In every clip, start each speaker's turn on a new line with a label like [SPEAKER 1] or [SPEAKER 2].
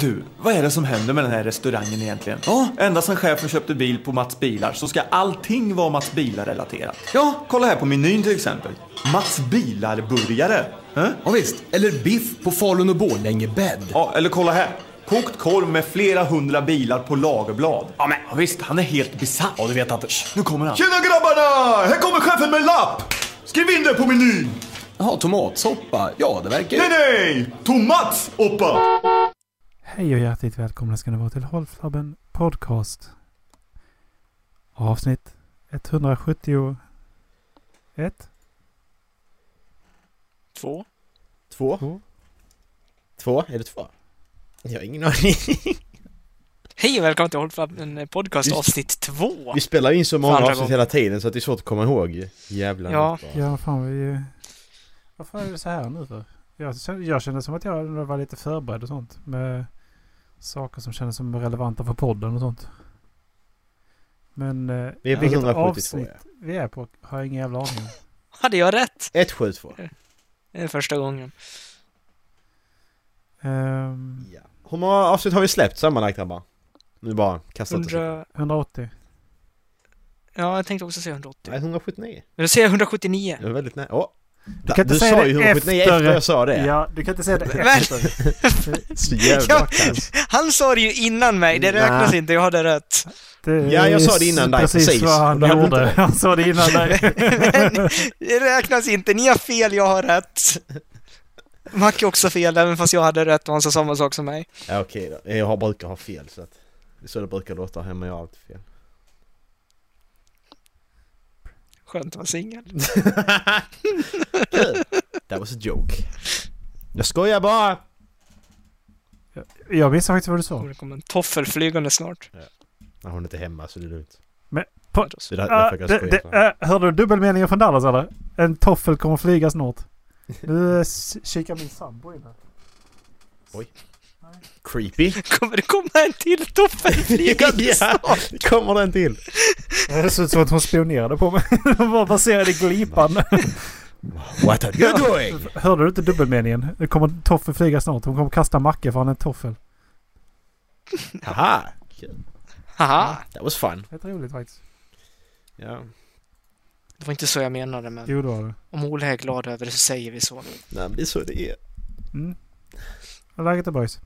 [SPEAKER 1] Du, vad är det som händer med den här restaurangen egentligen? Ja, ända sedan chefen köpte bil på Mats Bilar så ska allting vara Mats Bilar-relaterat. Ja, kolla här på menyn till exempel. Mats Bilar-burgare. Eh?
[SPEAKER 2] Ja, visst. Eller biff på Falun och Borlänge bädd.
[SPEAKER 1] Ja, eller kolla här. Kokt korv med flera hundra bilar på lagerblad. Ja, men visst, han är helt besatt.
[SPEAKER 2] Ja, du vet Anders.
[SPEAKER 1] Nu kommer han. Tjena grabbarna! Här kommer chefen med en lapp! Skriv in det på menyn!
[SPEAKER 2] Jaha, tomatsoppa. Ja, det verkar ju...
[SPEAKER 1] Nej, nej! Tomats, oppa!
[SPEAKER 3] Hej och hjärtligt välkomna ska ni vara till Holflabben Podcast. Avsnitt 171.
[SPEAKER 4] Två?
[SPEAKER 5] Två?
[SPEAKER 3] Två.
[SPEAKER 5] Två? Är det två? Jag har ingen aning.
[SPEAKER 4] Hej och välkommen till Hållflabben Podcast avsnitt två!
[SPEAKER 5] Vi spelar ju in så många
[SPEAKER 4] För andra
[SPEAKER 5] avsnitt
[SPEAKER 4] gången.
[SPEAKER 5] hela tiden så att det är svårt att komma ihåg ju. Jävlar.
[SPEAKER 4] Ja.
[SPEAKER 3] Ja, fan vi... eh, Varför är det så här nu för? Jag kände, jag kände som att jag var lite förberedd och sånt med saker som kändes som relevanta för podden och sånt. Men... eh,
[SPEAKER 5] Vi är på
[SPEAKER 3] vilket
[SPEAKER 5] 172, ja.
[SPEAKER 3] avsnitt vi är på har jag ingen jävla aning om.
[SPEAKER 4] Hade jag rätt?
[SPEAKER 5] 172.
[SPEAKER 4] Det är första gången.
[SPEAKER 3] Ehm,
[SPEAKER 5] Ja. Hur många avsnitt har vi släppt sammanlagt grabbar? Nu bara kastat det. Nej,
[SPEAKER 4] Hundra...
[SPEAKER 3] 180.
[SPEAKER 4] Ja, jag tänkte också säga 180.
[SPEAKER 5] 179.
[SPEAKER 4] Men då säger jag 179.
[SPEAKER 5] Det var väldigt nära. Åh! Du,
[SPEAKER 3] kan inte
[SPEAKER 5] du
[SPEAKER 3] säga
[SPEAKER 5] sa
[SPEAKER 3] det
[SPEAKER 5] ju 179 efter,
[SPEAKER 3] efter.
[SPEAKER 5] jag sa det.
[SPEAKER 3] Ja, du kan inte säga det
[SPEAKER 4] Men-
[SPEAKER 3] efter.
[SPEAKER 5] Så jävla
[SPEAKER 4] Ja.
[SPEAKER 5] kass.
[SPEAKER 4] Han sa det ju innan mig, det
[SPEAKER 5] Nej.
[SPEAKER 4] räknas inte, jag hade rätt.
[SPEAKER 3] Det
[SPEAKER 5] Ja, jag
[SPEAKER 3] är
[SPEAKER 5] sa det innan dig,
[SPEAKER 3] Precis
[SPEAKER 5] precis.
[SPEAKER 3] vad han
[SPEAKER 5] Då hade du inte
[SPEAKER 3] gjorde.
[SPEAKER 5] det.
[SPEAKER 3] Han sa det innan dig.
[SPEAKER 4] Men det räknas inte, ni har fel, jag har rätt. Macke också fel, även fast jag hade rätt och han sa samma sak som mig.
[SPEAKER 5] Ja, okej då. Jag har- brukar ha fel så att... Det är så det brukar låta hemma, jag har alltid fel.
[SPEAKER 4] Skönt att vara singel.
[SPEAKER 5] That was a joke. Jag skojar bara!
[SPEAKER 3] Jag missade faktiskt vad du sa.
[SPEAKER 4] Och Det kommer en toffel flygande snart.
[SPEAKER 5] Nej, hon är inte hemma så det är lugnt.
[SPEAKER 3] Po-
[SPEAKER 5] Så det är
[SPEAKER 3] Ah,
[SPEAKER 5] därför jag
[SPEAKER 3] det,
[SPEAKER 5] skojar.
[SPEAKER 3] det,
[SPEAKER 5] så här.
[SPEAKER 3] äh, hörde du dubbelmeningen från Dallas eller? En toffel kommer flyga snart. Nu eh, s- kikar min sambo in här.
[SPEAKER 5] Creepy.
[SPEAKER 4] Kommer det komma en till toffel flygande snart?
[SPEAKER 5] ja, det kommer den till.
[SPEAKER 3] Det ser ut som att hon spionerade på mig. Hon var baserad i glipan.
[SPEAKER 5] What are you doing?
[SPEAKER 3] Hörde du inte dubbelmeningen? Det kommer en toffel flyga snart. Hon kommer kasta Macke för han är en toffel.
[SPEAKER 5] Haha!
[SPEAKER 4] Haha!
[SPEAKER 5] That was fun.
[SPEAKER 3] Det är roligt faktiskt.
[SPEAKER 5] Ja.
[SPEAKER 4] Det var inte så jag menade, men...
[SPEAKER 3] Jo, det var det.
[SPEAKER 4] Om Ola är glad över det så säger vi så.
[SPEAKER 5] Nej men det är så det är.
[SPEAKER 3] Mm. Hur är läget då boys?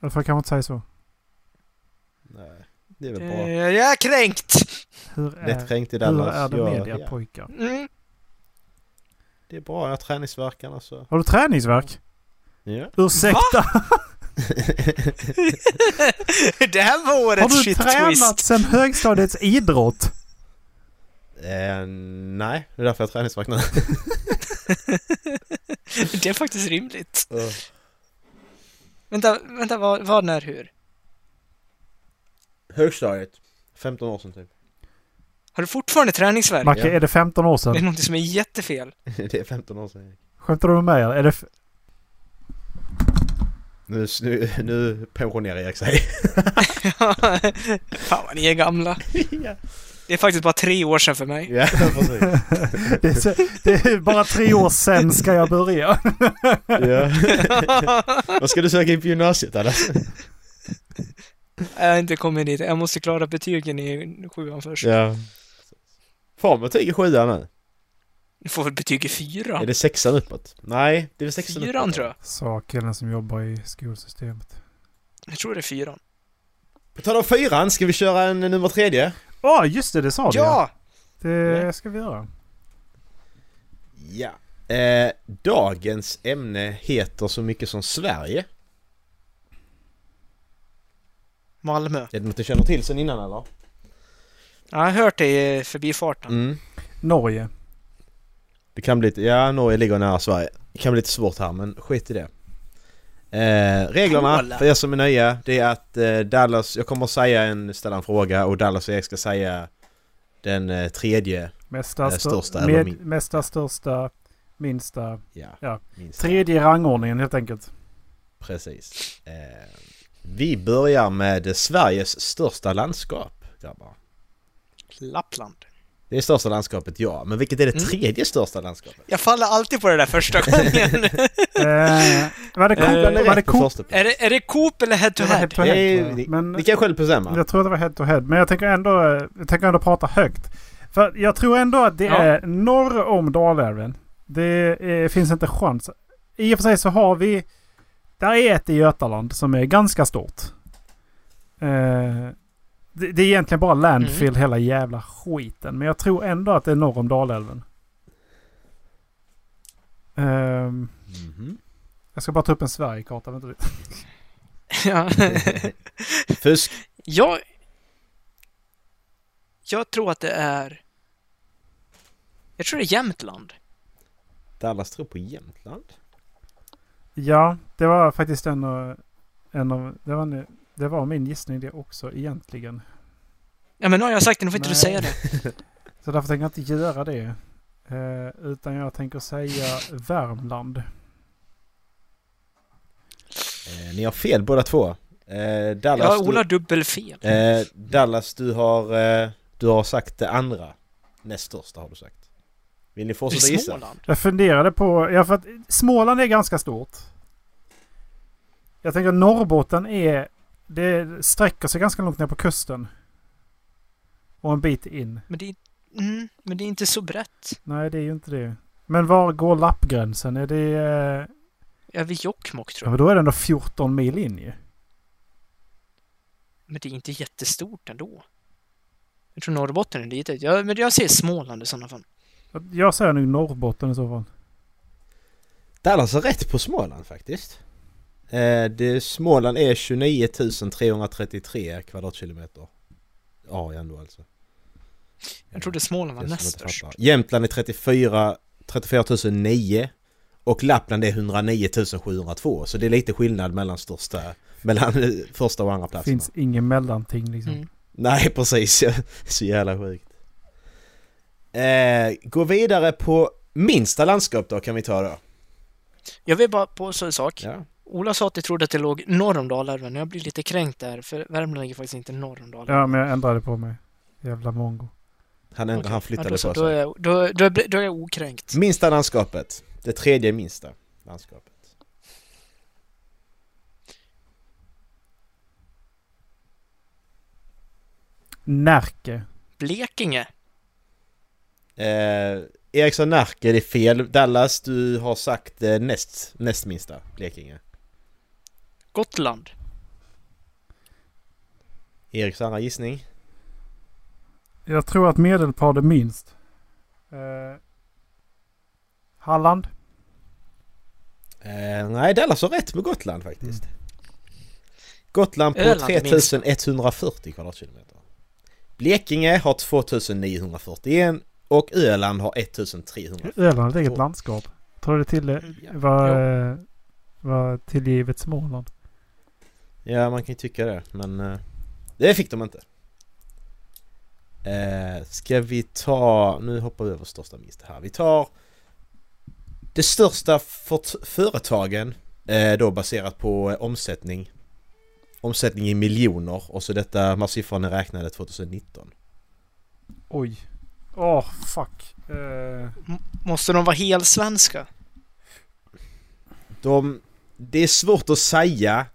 [SPEAKER 3] Eller får jag kanske inte säga så.
[SPEAKER 5] Nej. Det är väl
[SPEAKER 4] Eh,
[SPEAKER 5] bra.
[SPEAKER 4] jag är kränkt!
[SPEAKER 3] Hur är,
[SPEAKER 5] Lätt kränkt i
[SPEAKER 3] hur
[SPEAKER 5] Dallas.
[SPEAKER 3] är det med er
[SPEAKER 5] ja.
[SPEAKER 3] pojkar?
[SPEAKER 4] Mm.
[SPEAKER 5] Det är bra, jag har träningsvärk annars så.
[SPEAKER 3] Har du träningsvärk?
[SPEAKER 5] Ja.
[SPEAKER 3] Ursäkta?
[SPEAKER 4] Det här var
[SPEAKER 3] Har
[SPEAKER 4] årets
[SPEAKER 3] du
[SPEAKER 4] shit
[SPEAKER 3] tränat
[SPEAKER 4] twist.
[SPEAKER 3] sen högstadiets idrott?
[SPEAKER 5] Eh, nej, det är därför jag har träningsvärk nu.
[SPEAKER 4] Det är faktiskt rimligt. Vänta, vänta, vad, vad när, hur?
[SPEAKER 5] Högstadiet. 15 år sedan typ.
[SPEAKER 4] Har du fortfarande träningsvärk?
[SPEAKER 3] Macke, är det 15 år
[SPEAKER 4] Det är
[SPEAKER 3] sedan?
[SPEAKER 4] någonting som är jättefel.
[SPEAKER 5] det är 15 år sedan.
[SPEAKER 3] Skämtar du med mig eller? Är det f-
[SPEAKER 5] Nu, nu, nu pensionerar Erik sig.
[SPEAKER 4] Fan vad ni är gamla. Det är faktiskt bara tre år sedan för mig.
[SPEAKER 5] ja, precis.
[SPEAKER 3] det, är så, det är bara tre år sen ska jag börja.
[SPEAKER 5] ja. Vad ska du söka in på gymnasiet eller?
[SPEAKER 4] Jag har inte kommit dit. Jag måste klara betygen i sjuan först.
[SPEAKER 5] Ja. Fan vad tyg i sjuan nu.
[SPEAKER 4] Du får väl betyg i fyran?
[SPEAKER 5] Är det sexan uppåt? Nej, det är väl sexan
[SPEAKER 4] Fyran tror jag.
[SPEAKER 3] Sa killen som jobbar i skolsystemet.
[SPEAKER 4] Jag tror det är fyran.
[SPEAKER 5] På tal om fyran, ska vi köra en nummer tredje?
[SPEAKER 3] Ja, just det, det sa du
[SPEAKER 4] Ja!
[SPEAKER 3] Det ska vi göra.
[SPEAKER 5] Ja. Eh, dagens ämne heter så mycket som Sverige.
[SPEAKER 4] Malmö.
[SPEAKER 5] Är det något du känner till sen innan eller?
[SPEAKER 4] Jag har hört det i förbifarten.
[SPEAKER 5] Mm.
[SPEAKER 3] Norge.
[SPEAKER 5] Det kan bli lite, ja Norge ligger nära Sverige. Det kan bli lite svårt här men skit i det. Eh, reglerna
[SPEAKER 4] Kolla.
[SPEAKER 5] för er som är nya, det är att eh, Dallas, jag kommer att säga en, ställa en fråga och Dallas och Erik ska säga den eh, tredje.
[SPEAKER 3] Mesta,
[SPEAKER 5] Eh,
[SPEAKER 3] stör,
[SPEAKER 5] största
[SPEAKER 3] största,
[SPEAKER 5] eller
[SPEAKER 3] med,
[SPEAKER 5] min-
[SPEAKER 3] mesta, största, minsta.
[SPEAKER 5] Ja,
[SPEAKER 3] Ja.
[SPEAKER 5] minst.
[SPEAKER 3] Tredje i rangordningen helt enkelt.
[SPEAKER 5] Precis. Eh, vi börjar med Sveriges största landskap, grabbar.
[SPEAKER 4] Lappland.
[SPEAKER 5] Det är största landskapet, ja. Men vilket är det
[SPEAKER 4] Mm.
[SPEAKER 5] tredje största landskapet?
[SPEAKER 4] Jag faller alltid på det där första gången.
[SPEAKER 3] Eh, var det Coop?
[SPEAKER 5] Ibland
[SPEAKER 3] var
[SPEAKER 5] är
[SPEAKER 3] det
[SPEAKER 5] rätt på
[SPEAKER 3] Coop?
[SPEAKER 5] första plats.
[SPEAKER 4] är, det, är det Coop eller Head to
[SPEAKER 3] Det var
[SPEAKER 4] Head?
[SPEAKER 3] head to head,
[SPEAKER 5] Nej,
[SPEAKER 3] tror jag.
[SPEAKER 5] det-
[SPEAKER 3] Men
[SPEAKER 5] Ni kan själv bestämma.
[SPEAKER 3] jag tror det var head to head. Men jag tänker ändå, eh, jag tänker ändå prata högt. För jag tror ändå att det
[SPEAKER 4] Ja.
[SPEAKER 3] är norr om Dalälven. Det eh, finns inte chans. I och för sig så har vi... Där är ett i Götaland som är ganska stort. Eh, det, det är egentligen bara landfill hela jävla skiten. Men jag tror ändå att det är norr om Dalälven. Ehm,
[SPEAKER 5] Mhm.
[SPEAKER 3] jag ska bara ta upp en Sverigekarta. Vänta lite.
[SPEAKER 4] Ja.
[SPEAKER 5] Fusk.
[SPEAKER 4] jag... Jag tror att det är... Jag tror det är Jämtland.
[SPEAKER 5] Dallas tror på Jämtland.
[SPEAKER 3] Ja, det var faktiskt en av... En av det, var en, det var min gissning det också egentligen.
[SPEAKER 4] Ja men nu har jag sagt det, nu får inte du
[SPEAKER 3] Nej.
[SPEAKER 4] säga det.
[SPEAKER 3] Så därför tänker jag inte göra det. Eh, utan jag tänker säga Värmland.
[SPEAKER 5] Eh, ni har fel båda två. Eh, Dallas,
[SPEAKER 4] Ja, Ola har dubbelfel.
[SPEAKER 5] du, eh, Dallas, du har, eh, du har sagt det andra. Näst största har du sagt. Vill ni
[SPEAKER 4] I
[SPEAKER 5] fortsätta gissa?
[SPEAKER 4] Småland.
[SPEAKER 3] Jag funderade på... Ja, för att Småland är ganska stort. Jag tänker att Norrbotten är... Det sträcker sig ganska långt ner på kusten. Och en bit in.
[SPEAKER 4] Men det, är, mm, men det är inte så brett.
[SPEAKER 3] Nej, det är ju inte det. Men var går lappgränsen? Är det... eh,
[SPEAKER 4] Över Jokkmokk tror
[SPEAKER 3] Ja,
[SPEAKER 4] jag.
[SPEAKER 3] men då är det ändå 14 mil in ju.
[SPEAKER 4] Men det är inte jättestort ändå. Jag tror Norrbotten är litet. Ja, men jag ser Småland i sådana fall.
[SPEAKER 3] Jag säger nu Norrbotten i så fall.
[SPEAKER 5] Dallas har rätt på Småland faktiskt. Eh, det, Småland är 29 333 kvadratkilometer. Ja, ändå alltså.
[SPEAKER 4] Jag trodde Småland var
[SPEAKER 5] Det är
[SPEAKER 4] näst
[SPEAKER 5] som jag inte
[SPEAKER 4] störst.
[SPEAKER 5] fattar. Jämtland är 34, 34 009 och Lappland är 109 702. Så det är lite skillnad mellan största, mellan eh, första och andra platserna.
[SPEAKER 3] finns ingen mellanting liksom.
[SPEAKER 4] Mm.
[SPEAKER 5] Nej, precis. Så jävla sjukt. Eh, gå vidare på minsta landskap då, kan vi ta då.
[SPEAKER 4] Jag vill bara påstå en sak.
[SPEAKER 5] Ja.
[SPEAKER 4] Ola sa att jag trodde att det låg norr om Dalälven. Jag blir lite kränkt där, för Värmland ligger faktiskt inte norr om Dalälven.
[SPEAKER 3] Ja, men jag ändrade på mig. Jävla mongo.
[SPEAKER 5] Han, ändå,
[SPEAKER 4] Okej.
[SPEAKER 5] han
[SPEAKER 4] Ja,
[SPEAKER 5] flyttade
[SPEAKER 4] då,
[SPEAKER 5] på
[SPEAKER 4] så,
[SPEAKER 5] sig.
[SPEAKER 4] då, är, jag- då, då, är- då är jag okränkt.
[SPEAKER 5] Minsta landskapet. Det tredje minsta landskapet.
[SPEAKER 3] Närke.
[SPEAKER 4] Blekinge.
[SPEAKER 5] Eh, Eriksson Närke, det är fel. Dallas, du har sagt eh, näst, näst minsta Blekinge.
[SPEAKER 4] Gotland.
[SPEAKER 5] Eriks andra gissning.
[SPEAKER 3] Jag tror att medelpad är minst. Eh, Halland.
[SPEAKER 5] Eh, nej, Dallas har rätt med Gotland faktiskt. Gotland på
[SPEAKER 4] Mm. Öland är minst.
[SPEAKER 5] 3140 kvadratkilometer. Blekinge har 2941 och Öland har 1300.
[SPEAKER 3] Öland är ett eget landskap. Tror det till var, eh, var tillgivet Småland.
[SPEAKER 5] Ja, man kan ju tycka det, men eh, det fick de inte. Eh, ska vi ta, nu hoppar vi över största minst här. Vi tar det största fort- företagen eh, då baserat på eh, omsättning. Omsättning i miljoner och så detta, de här siffrorna är räknade 2019.
[SPEAKER 3] Oj. Åh, fuck. Eh,
[SPEAKER 4] Måste de vara helsvenska?
[SPEAKER 5] De, det är svårt att säga.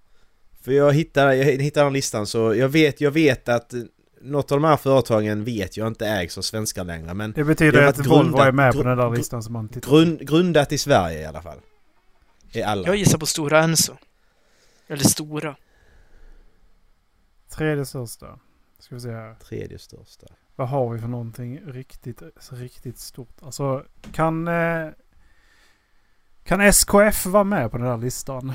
[SPEAKER 5] För jag hittar, jag hittar den listan så jag vet, jag vet att eh, något av de här företagen vet jag inte ägs av svenskar längre men
[SPEAKER 3] det
[SPEAKER 5] Det
[SPEAKER 3] betyder
[SPEAKER 5] var
[SPEAKER 3] att
[SPEAKER 5] ett
[SPEAKER 3] Volvo är
[SPEAKER 5] grundat-
[SPEAKER 3] med på den där
[SPEAKER 5] gru-
[SPEAKER 3] listan som man tittar
[SPEAKER 5] Grund, grundat i Sverige i alla fall. I alla.
[SPEAKER 4] Jag gissar på Stora Enso. Eller Stora.
[SPEAKER 3] Tredje största. Ska vi se här.
[SPEAKER 5] Tredje största.
[SPEAKER 3] Vad har vi för någonting riktigt, riktigt stort? Alltså, kan... Eh, kan SKF vara med på den här listan?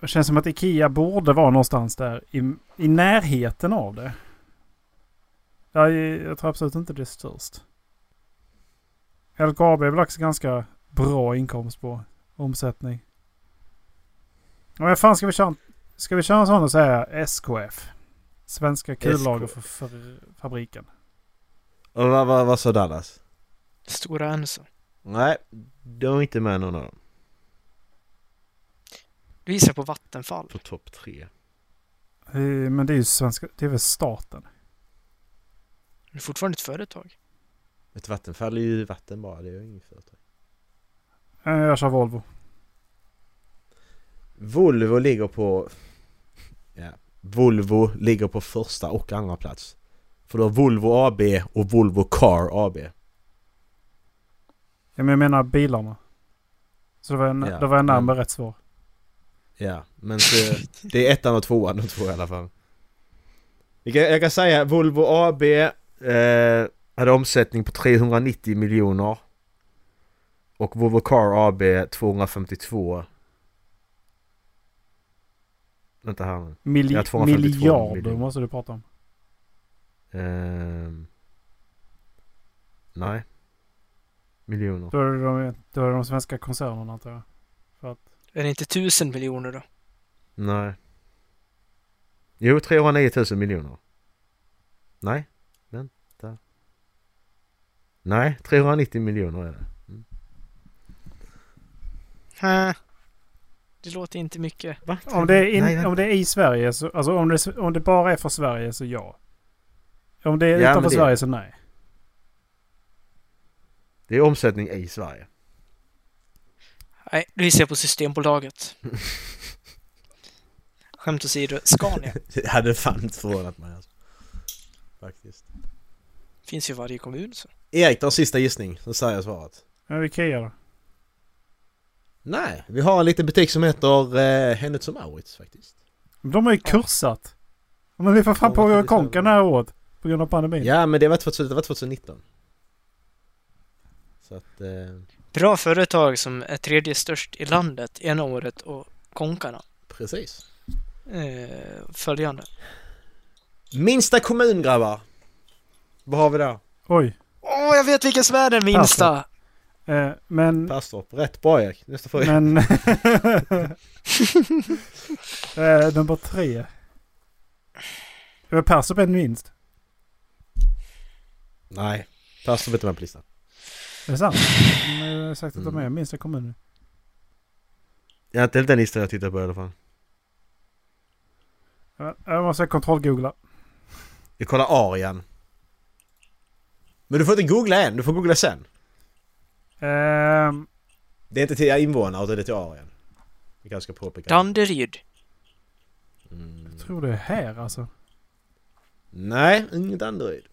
[SPEAKER 3] Det känns som att Ikea borde vara någonstans där i, i närheten av det. Jag, jag tror absolut inte det är störst. LKAB är väl också ganska bra inkomst på omsättning. Ja, Men fan ska vi köra, en- ska vi köra en sån och säga SKF? Svenska kullager för, för fabriken.
[SPEAKER 5] Och vad, vad, vad sa Dallas?
[SPEAKER 4] Stora Enso.
[SPEAKER 5] Nej, de är inte med någon av dem.
[SPEAKER 4] Du gissar på Vattenfall.
[SPEAKER 5] Mm. På topp tre.
[SPEAKER 3] Eh, Men det är ju svenska, det är väl staten.
[SPEAKER 4] Det är fortfarande ett företag.
[SPEAKER 5] Ett vattenfall är ju vatten bara, det är ju inget företag.
[SPEAKER 3] Eh, Jag kör Volvo.
[SPEAKER 5] Volvo ligger på... Ja. Volvo ligger på första och andra plats. För du har Volvo AB och Volvo Car AB.
[SPEAKER 3] Ja, men jag menar bilarna. Så det var, en,
[SPEAKER 5] Ja,
[SPEAKER 3] det var en närmare
[SPEAKER 5] men-
[SPEAKER 3] rätt svar.
[SPEAKER 5] Ja, men så, det är ettan och tvåan, de två i alla fall. Jag kan, jag kan säga Volvo AB eh, hade omsättning på 390 miljoner. Och Volvo Car AB 252. Vänta här nu.
[SPEAKER 3] Mil-
[SPEAKER 5] Ja, 252
[SPEAKER 3] miljarder
[SPEAKER 5] miljoner.
[SPEAKER 3] måste du prata om.
[SPEAKER 5] Ehm, nej. Miljoner.
[SPEAKER 3] Då är det de, då är det de svenska koncernerna antar jag. För att,
[SPEAKER 4] Är det inte tusen miljoner då?
[SPEAKER 5] Nej. Jo, 309 000 miljoner. Nej, vänta. Nej, 390 miljoner är det.
[SPEAKER 4] Hä? Det låter inte mycket.
[SPEAKER 5] Va?
[SPEAKER 3] om, det är in,
[SPEAKER 5] Nej, vänta.
[SPEAKER 3] om det är i Sverige så, alltså om det, om det bara är för Sverige så ja. Om det är
[SPEAKER 5] Ja, men
[SPEAKER 3] utanför
[SPEAKER 5] det-
[SPEAKER 3] Sverige så nej.
[SPEAKER 5] Det är omsättning i Sverige.
[SPEAKER 4] Nej, då gissar jag på Systembolaget. Skämt åsido, Scania
[SPEAKER 5] Det hade fan inte förvånat mig alltså. Faktiskt.
[SPEAKER 4] finns ju i varje kommun så.
[SPEAKER 5] Erik, dra sista gissning, så säger jag svaret.
[SPEAKER 3] Men Ikea då?
[SPEAKER 5] Nej, vi har en liten butik som heter eh, Hennes och Mauritz faktiskt.
[SPEAKER 3] Men De har ju kursat. Men vi får fan
[SPEAKER 5] Ja,
[SPEAKER 3] på
[SPEAKER 5] varför det
[SPEAKER 3] konkan det här året. På grund av pandemin.
[SPEAKER 5] Ja, men det var, 2000, det var 2019. Så att... Eh,
[SPEAKER 4] Bra företag som är tredje störst i landet ena året och konkarna
[SPEAKER 5] precis.
[SPEAKER 4] eh, följande.
[SPEAKER 5] Minsta kommun grabbar! Vad har vi där?
[SPEAKER 3] Oj.
[SPEAKER 4] Åh, jag vet vilken som är den minsta!
[SPEAKER 3] Eh, men...
[SPEAKER 5] Perstorp. Rätt bra Erik. Nästa fråga.
[SPEAKER 3] Men... eh, nummer tre. Det var Perstorp är den minst.
[SPEAKER 5] Nej. Perstorp är inte med på listan.
[SPEAKER 3] Är det sant? De har sagt att de
[SPEAKER 5] Mm.
[SPEAKER 3] är minsta kommunen.
[SPEAKER 5] Ja, inte den listan jag tittar på i alla fall.
[SPEAKER 3] Ja, Jag måste kontrollgoogla.
[SPEAKER 5] Vi kollar Arian. Men du får inte googla än. Du får googla sen.
[SPEAKER 3] Ehm,
[SPEAKER 5] Det är inte till invånare utan det är till Arian. Vi kanske ska påpeka. det.
[SPEAKER 4] Danderyd.
[SPEAKER 5] Mm.
[SPEAKER 3] jag tror det är här alltså.
[SPEAKER 5] Nej, inget Danderyd.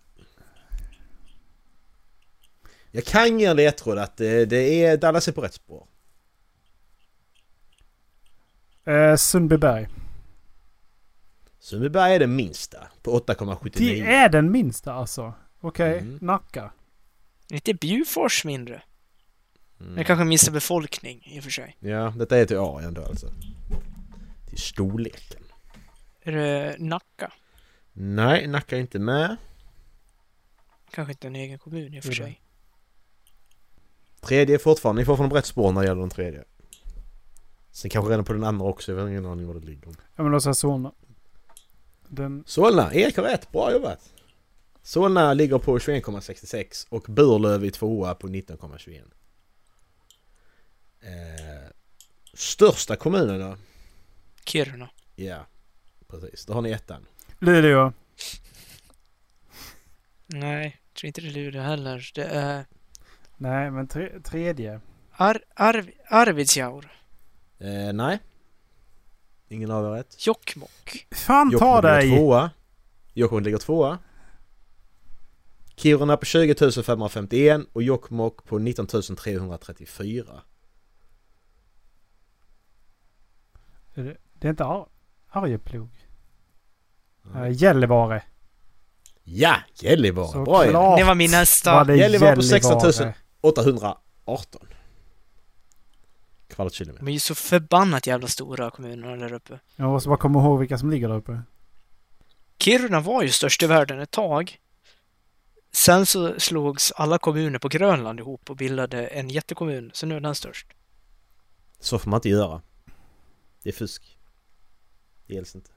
[SPEAKER 5] Jag kan ge en ledtråd att det, det är Dallas är på rätt spår.
[SPEAKER 3] Eh, Sundbyberg.
[SPEAKER 5] Sundbyberg är den minsta på 8,79.
[SPEAKER 3] Det är den minsta alltså. Okej,
[SPEAKER 5] Mm.
[SPEAKER 3] Nacka.
[SPEAKER 4] Inte Bjurfors mindre.
[SPEAKER 5] Mm.
[SPEAKER 4] Jag kanske missar befolkning i och för sig.
[SPEAKER 5] Ja, detta är till Arian då alltså. Till storleken.
[SPEAKER 4] Är det Nacka?
[SPEAKER 5] Nej, Nacka är inte med.
[SPEAKER 4] Kanske inte en egen kommun i och för
[SPEAKER 3] Jo då.
[SPEAKER 4] sig.
[SPEAKER 5] Tredje är fortfarande, ni får från rätt spår när det gäller den tredje. Sen kanske redan på den andra också, jag har ingen aning var det ligger.
[SPEAKER 3] Ja men då säger jag Solna. Den...
[SPEAKER 5] Solna, Erik har rätt, bra jobbat! Solna ligger på 21,66 och Burlöv i tvåa på 19,21. Eh, största kommunen då?
[SPEAKER 4] Kiruna.
[SPEAKER 5] Ja, precis. Då har ni ettan.
[SPEAKER 3] Luleå.
[SPEAKER 4] Nej, jag tror inte det är Luleå heller. Det är
[SPEAKER 3] Nej men tre- tredje.
[SPEAKER 4] Ar Arv Arvidsjaur.
[SPEAKER 5] Eh, nej. Ingen av er har rätt.
[SPEAKER 4] Jokkmokk.
[SPEAKER 3] Fan ta
[SPEAKER 5] Jokkmokk ligger
[SPEAKER 3] dig!
[SPEAKER 5] tvåa. Jokkmokk ligger tvåa. Kiruna på 20 551 och Jokkmokk på 19 334.
[SPEAKER 3] Är Det det är inte Ar- Arjeplog.
[SPEAKER 5] Nej.
[SPEAKER 3] Eh, Gällivare.
[SPEAKER 5] Ja! Gällivare! Bra Erik!
[SPEAKER 3] klart
[SPEAKER 4] Det var min nästa.
[SPEAKER 3] det
[SPEAKER 5] Gällivare på 16 000. 818. Kvadratkilometer.
[SPEAKER 4] De är ju så förbannat jävla stora kommunerna där uppe.
[SPEAKER 3] Jag måste bara komma ihåg vilka som ligger där uppe.
[SPEAKER 4] Kiruna var ju störst i världen ett tag. Sen så slogs alla kommuner på Grönland ihop och bildade en jättekommun, så nu är den störst.
[SPEAKER 5] Så får man inte göra. Det är fusk. Det gills inte.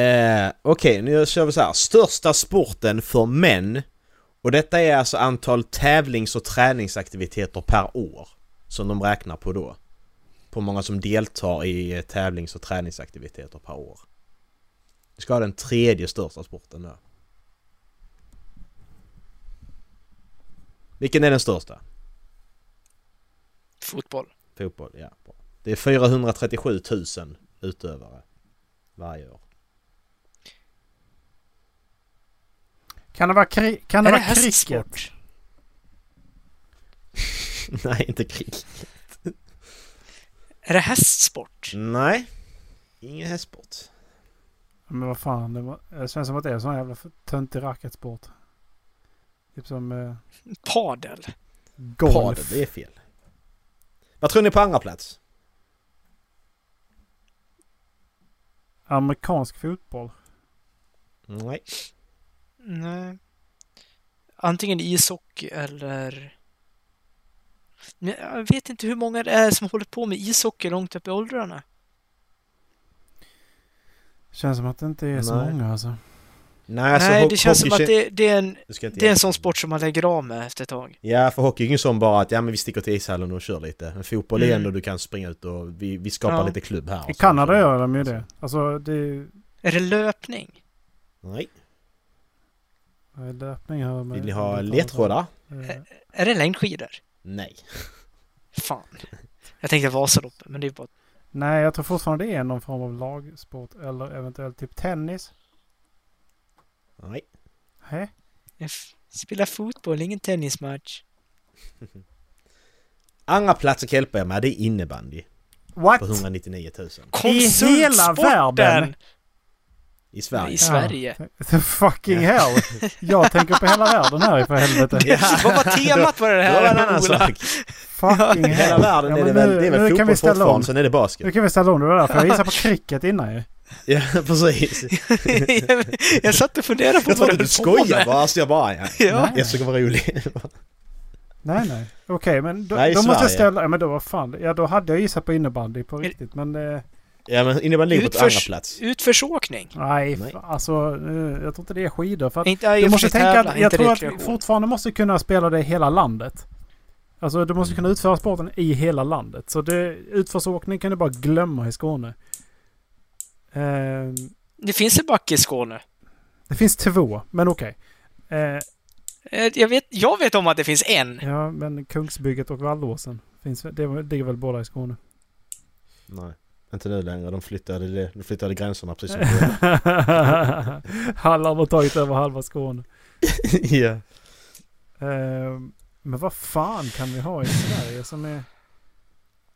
[SPEAKER 5] Eh, Okej, nu kör vi så här. Största sporten för män. Och detta är alltså antal tävlings och träningsaktiviteter per år. Som de räknar på då. På många som deltar i eh, tävlings och träningsaktiviteter per år. Vi ska ha den tredje största sporten då. Vilken är den största?
[SPEAKER 4] Fotboll.
[SPEAKER 5] Fotboll, ja. Bra. Det är 437 000 utövare varje år.
[SPEAKER 3] Kan det vara, kri- kan det
[SPEAKER 4] är det
[SPEAKER 3] vara cricket?
[SPEAKER 4] hästsport?
[SPEAKER 5] Nej, inte krig.
[SPEAKER 4] Är det hästsport?
[SPEAKER 5] Nej. Ingen hästsport.
[SPEAKER 3] Men vad fan, det, var, det känns som att det är en sån här jävla töntig racketsport. Typ som eh,
[SPEAKER 4] Padel?
[SPEAKER 3] golf.
[SPEAKER 5] Padel, det är fel. Vad tror ni på andra plats?
[SPEAKER 3] Amerikansk fotboll.
[SPEAKER 5] Nej.
[SPEAKER 4] Nej. Antingen ishockey eller... Nej, Jag vet inte hur många det är som håller på med ishockey långt upp i åldrarna.
[SPEAKER 3] Känns som att det inte är så
[SPEAKER 5] Nej.
[SPEAKER 3] många alltså.
[SPEAKER 5] Nej, alltså,
[SPEAKER 4] Nej,
[SPEAKER 5] ho-
[SPEAKER 4] det känns som
[SPEAKER 5] hockey
[SPEAKER 4] att det, det, är en,
[SPEAKER 5] Du ska inte
[SPEAKER 4] det är en
[SPEAKER 5] hjälpa
[SPEAKER 4] sån
[SPEAKER 5] mig.
[SPEAKER 4] sport som man lägger av med efter ett tag.
[SPEAKER 5] Ja, för hockey är ju ingen sån bara att ja, men vi sticker till ishallen och kör lite. Men fotboll är
[SPEAKER 4] Mm.
[SPEAKER 5] ändå du kan springa ut och vi, vi skapar
[SPEAKER 4] Ja.
[SPEAKER 5] lite klubb här.
[SPEAKER 3] I
[SPEAKER 5] och så-
[SPEAKER 3] Kanada gör de ju det. Alltså det är ju
[SPEAKER 4] Är det löpning?
[SPEAKER 5] Nej.
[SPEAKER 3] vad är löpning här. med-
[SPEAKER 5] Vill ni ha
[SPEAKER 3] med-
[SPEAKER 5] ledtrådar?
[SPEAKER 3] Eh,
[SPEAKER 4] Är det längdskidor?
[SPEAKER 5] Nej.
[SPEAKER 4] Fan. Jag tänkte Vasaloppet, men det är bara...
[SPEAKER 3] Nej, jag tror fortfarande det är någon form av lagsport eller eventuellt typ tennis.
[SPEAKER 5] Nej.
[SPEAKER 3] Hä?
[SPEAKER 4] Jag f- spelar fotboll, ingen tennismatch.
[SPEAKER 5] Andra plats jag kan hjälpa er med det är innebandy
[SPEAKER 3] What?
[SPEAKER 5] på 199 000.
[SPEAKER 4] Konsultsporten!
[SPEAKER 3] hela världen?
[SPEAKER 5] I
[SPEAKER 4] I
[SPEAKER 5] Sverige.
[SPEAKER 4] Sverige.
[SPEAKER 3] Ja. Fucking hell! Jag tänker på hela världen här i för helvete.
[SPEAKER 4] Vad var temat på det
[SPEAKER 5] Det var en
[SPEAKER 4] här,
[SPEAKER 5] annan
[SPEAKER 4] Ola?
[SPEAKER 5] sak.
[SPEAKER 3] Fucking
[SPEAKER 5] I hela
[SPEAKER 3] hell.
[SPEAKER 5] världen
[SPEAKER 3] Ja,
[SPEAKER 5] är det
[SPEAKER 3] men
[SPEAKER 5] väl,
[SPEAKER 3] nu-
[SPEAKER 5] det är
[SPEAKER 3] nu
[SPEAKER 5] väl
[SPEAKER 3] kan vi
[SPEAKER 5] fotboll
[SPEAKER 3] ställa om.
[SPEAKER 5] fortfarande, sen är det
[SPEAKER 3] Nu
[SPEAKER 5] basket.
[SPEAKER 3] kan vi ställa om det var därför jag gissade på cricket innan ju.
[SPEAKER 5] Ja, precis.
[SPEAKER 4] jag satt och funderade på
[SPEAKER 5] Jag
[SPEAKER 4] vad
[SPEAKER 5] trodde
[SPEAKER 4] du
[SPEAKER 5] du
[SPEAKER 4] höll på
[SPEAKER 5] skojade
[SPEAKER 4] med.
[SPEAKER 5] bara, alltså jag bara ja.
[SPEAKER 4] Ja.
[SPEAKER 5] Jag ska vara rolig.
[SPEAKER 3] Nej, nej. Okej, men då,
[SPEAKER 5] Nej, i
[SPEAKER 3] då måste jag
[SPEAKER 5] Sverige.
[SPEAKER 3] ställa... Ja, men då vad fan. Ja, då hade jag gissat på innebandy på riktigt. Men eh,
[SPEAKER 5] Ja men innebandy ligger på ett andra
[SPEAKER 4] Utförs-
[SPEAKER 5] plats.
[SPEAKER 4] Utförsåkning?
[SPEAKER 3] nej,
[SPEAKER 5] Nej.
[SPEAKER 3] nej. alltså eh, jag tror inte det är skidor. För att
[SPEAKER 4] Inte, ja, i
[SPEAKER 3] du
[SPEAKER 4] och för
[SPEAKER 3] måste
[SPEAKER 4] sig
[SPEAKER 3] tänka
[SPEAKER 4] tävla,
[SPEAKER 3] att jag
[SPEAKER 4] inte
[SPEAKER 3] tror att
[SPEAKER 4] rekreation.
[SPEAKER 3] vi fortfarande måste kunna spela det i hela landet. Alltså du
[SPEAKER 4] Mm.
[SPEAKER 3] måste kunna utföra sporten i hela landet. Så det, utförsåkning kan du bara glömma i Skåne. Ehm,
[SPEAKER 4] Det finns en backe i Skåne.
[SPEAKER 3] det finns två, men okej. Eh,
[SPEAKER 4] Eh, Jag vet, jag vet om att det finns en.
[SPEAKER 3] ja, men Kungsbygget och Vallåsen. Finns, det ligger väl båda i Skåne?
[SPEAKER 5] Nej, inte nu längre. De flyttade, det- de flyttade gränserna precis som
[SPEAKER 3] Halland har tagit över halva Skåne.
[SPEAKER 5] Ja.
[SPEAKER 3] Ehm, men vad fan kan vi ha i Sverige som är...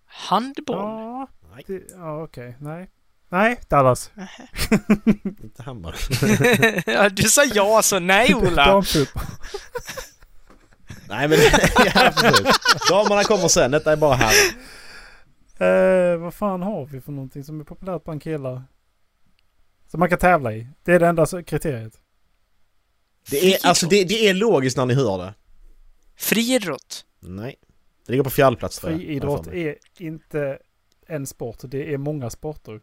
[SPEAKER 4] Handboll?
[SPEAKER 3] Ja,
[SPEAKER 5] Nej,
[SPEAKER 3] det, ja okej. Nej. Nej, Dallas.
[SPEAKER 5] inte Hammar.
[SPEAKER 4] du sa ja, så nej Ola.
[SPEAKER 3] Damfotboll.
[SPEAKER 5] Nej men, ja precis. Damerna kommer sen, detta är bara här.
[SPEAKER 3] Eh, vad fan har vi för någonting som är populärt bland killar? Som man kan tävla i. Det är det enda så- kriteriet.
[SPEAKER 5] Det är, alltså det, det är logiskt när ni hör det.
[SPEAKER 4] Friidrott?
[SPEAKER 5] Nej. Det ligger på fjärde plats tror jag.
[SPEAKER 3] Friidrott
[SPEAKER 5] Varför?
[SPEAKER 3] är inte en sport. Det är många sporter.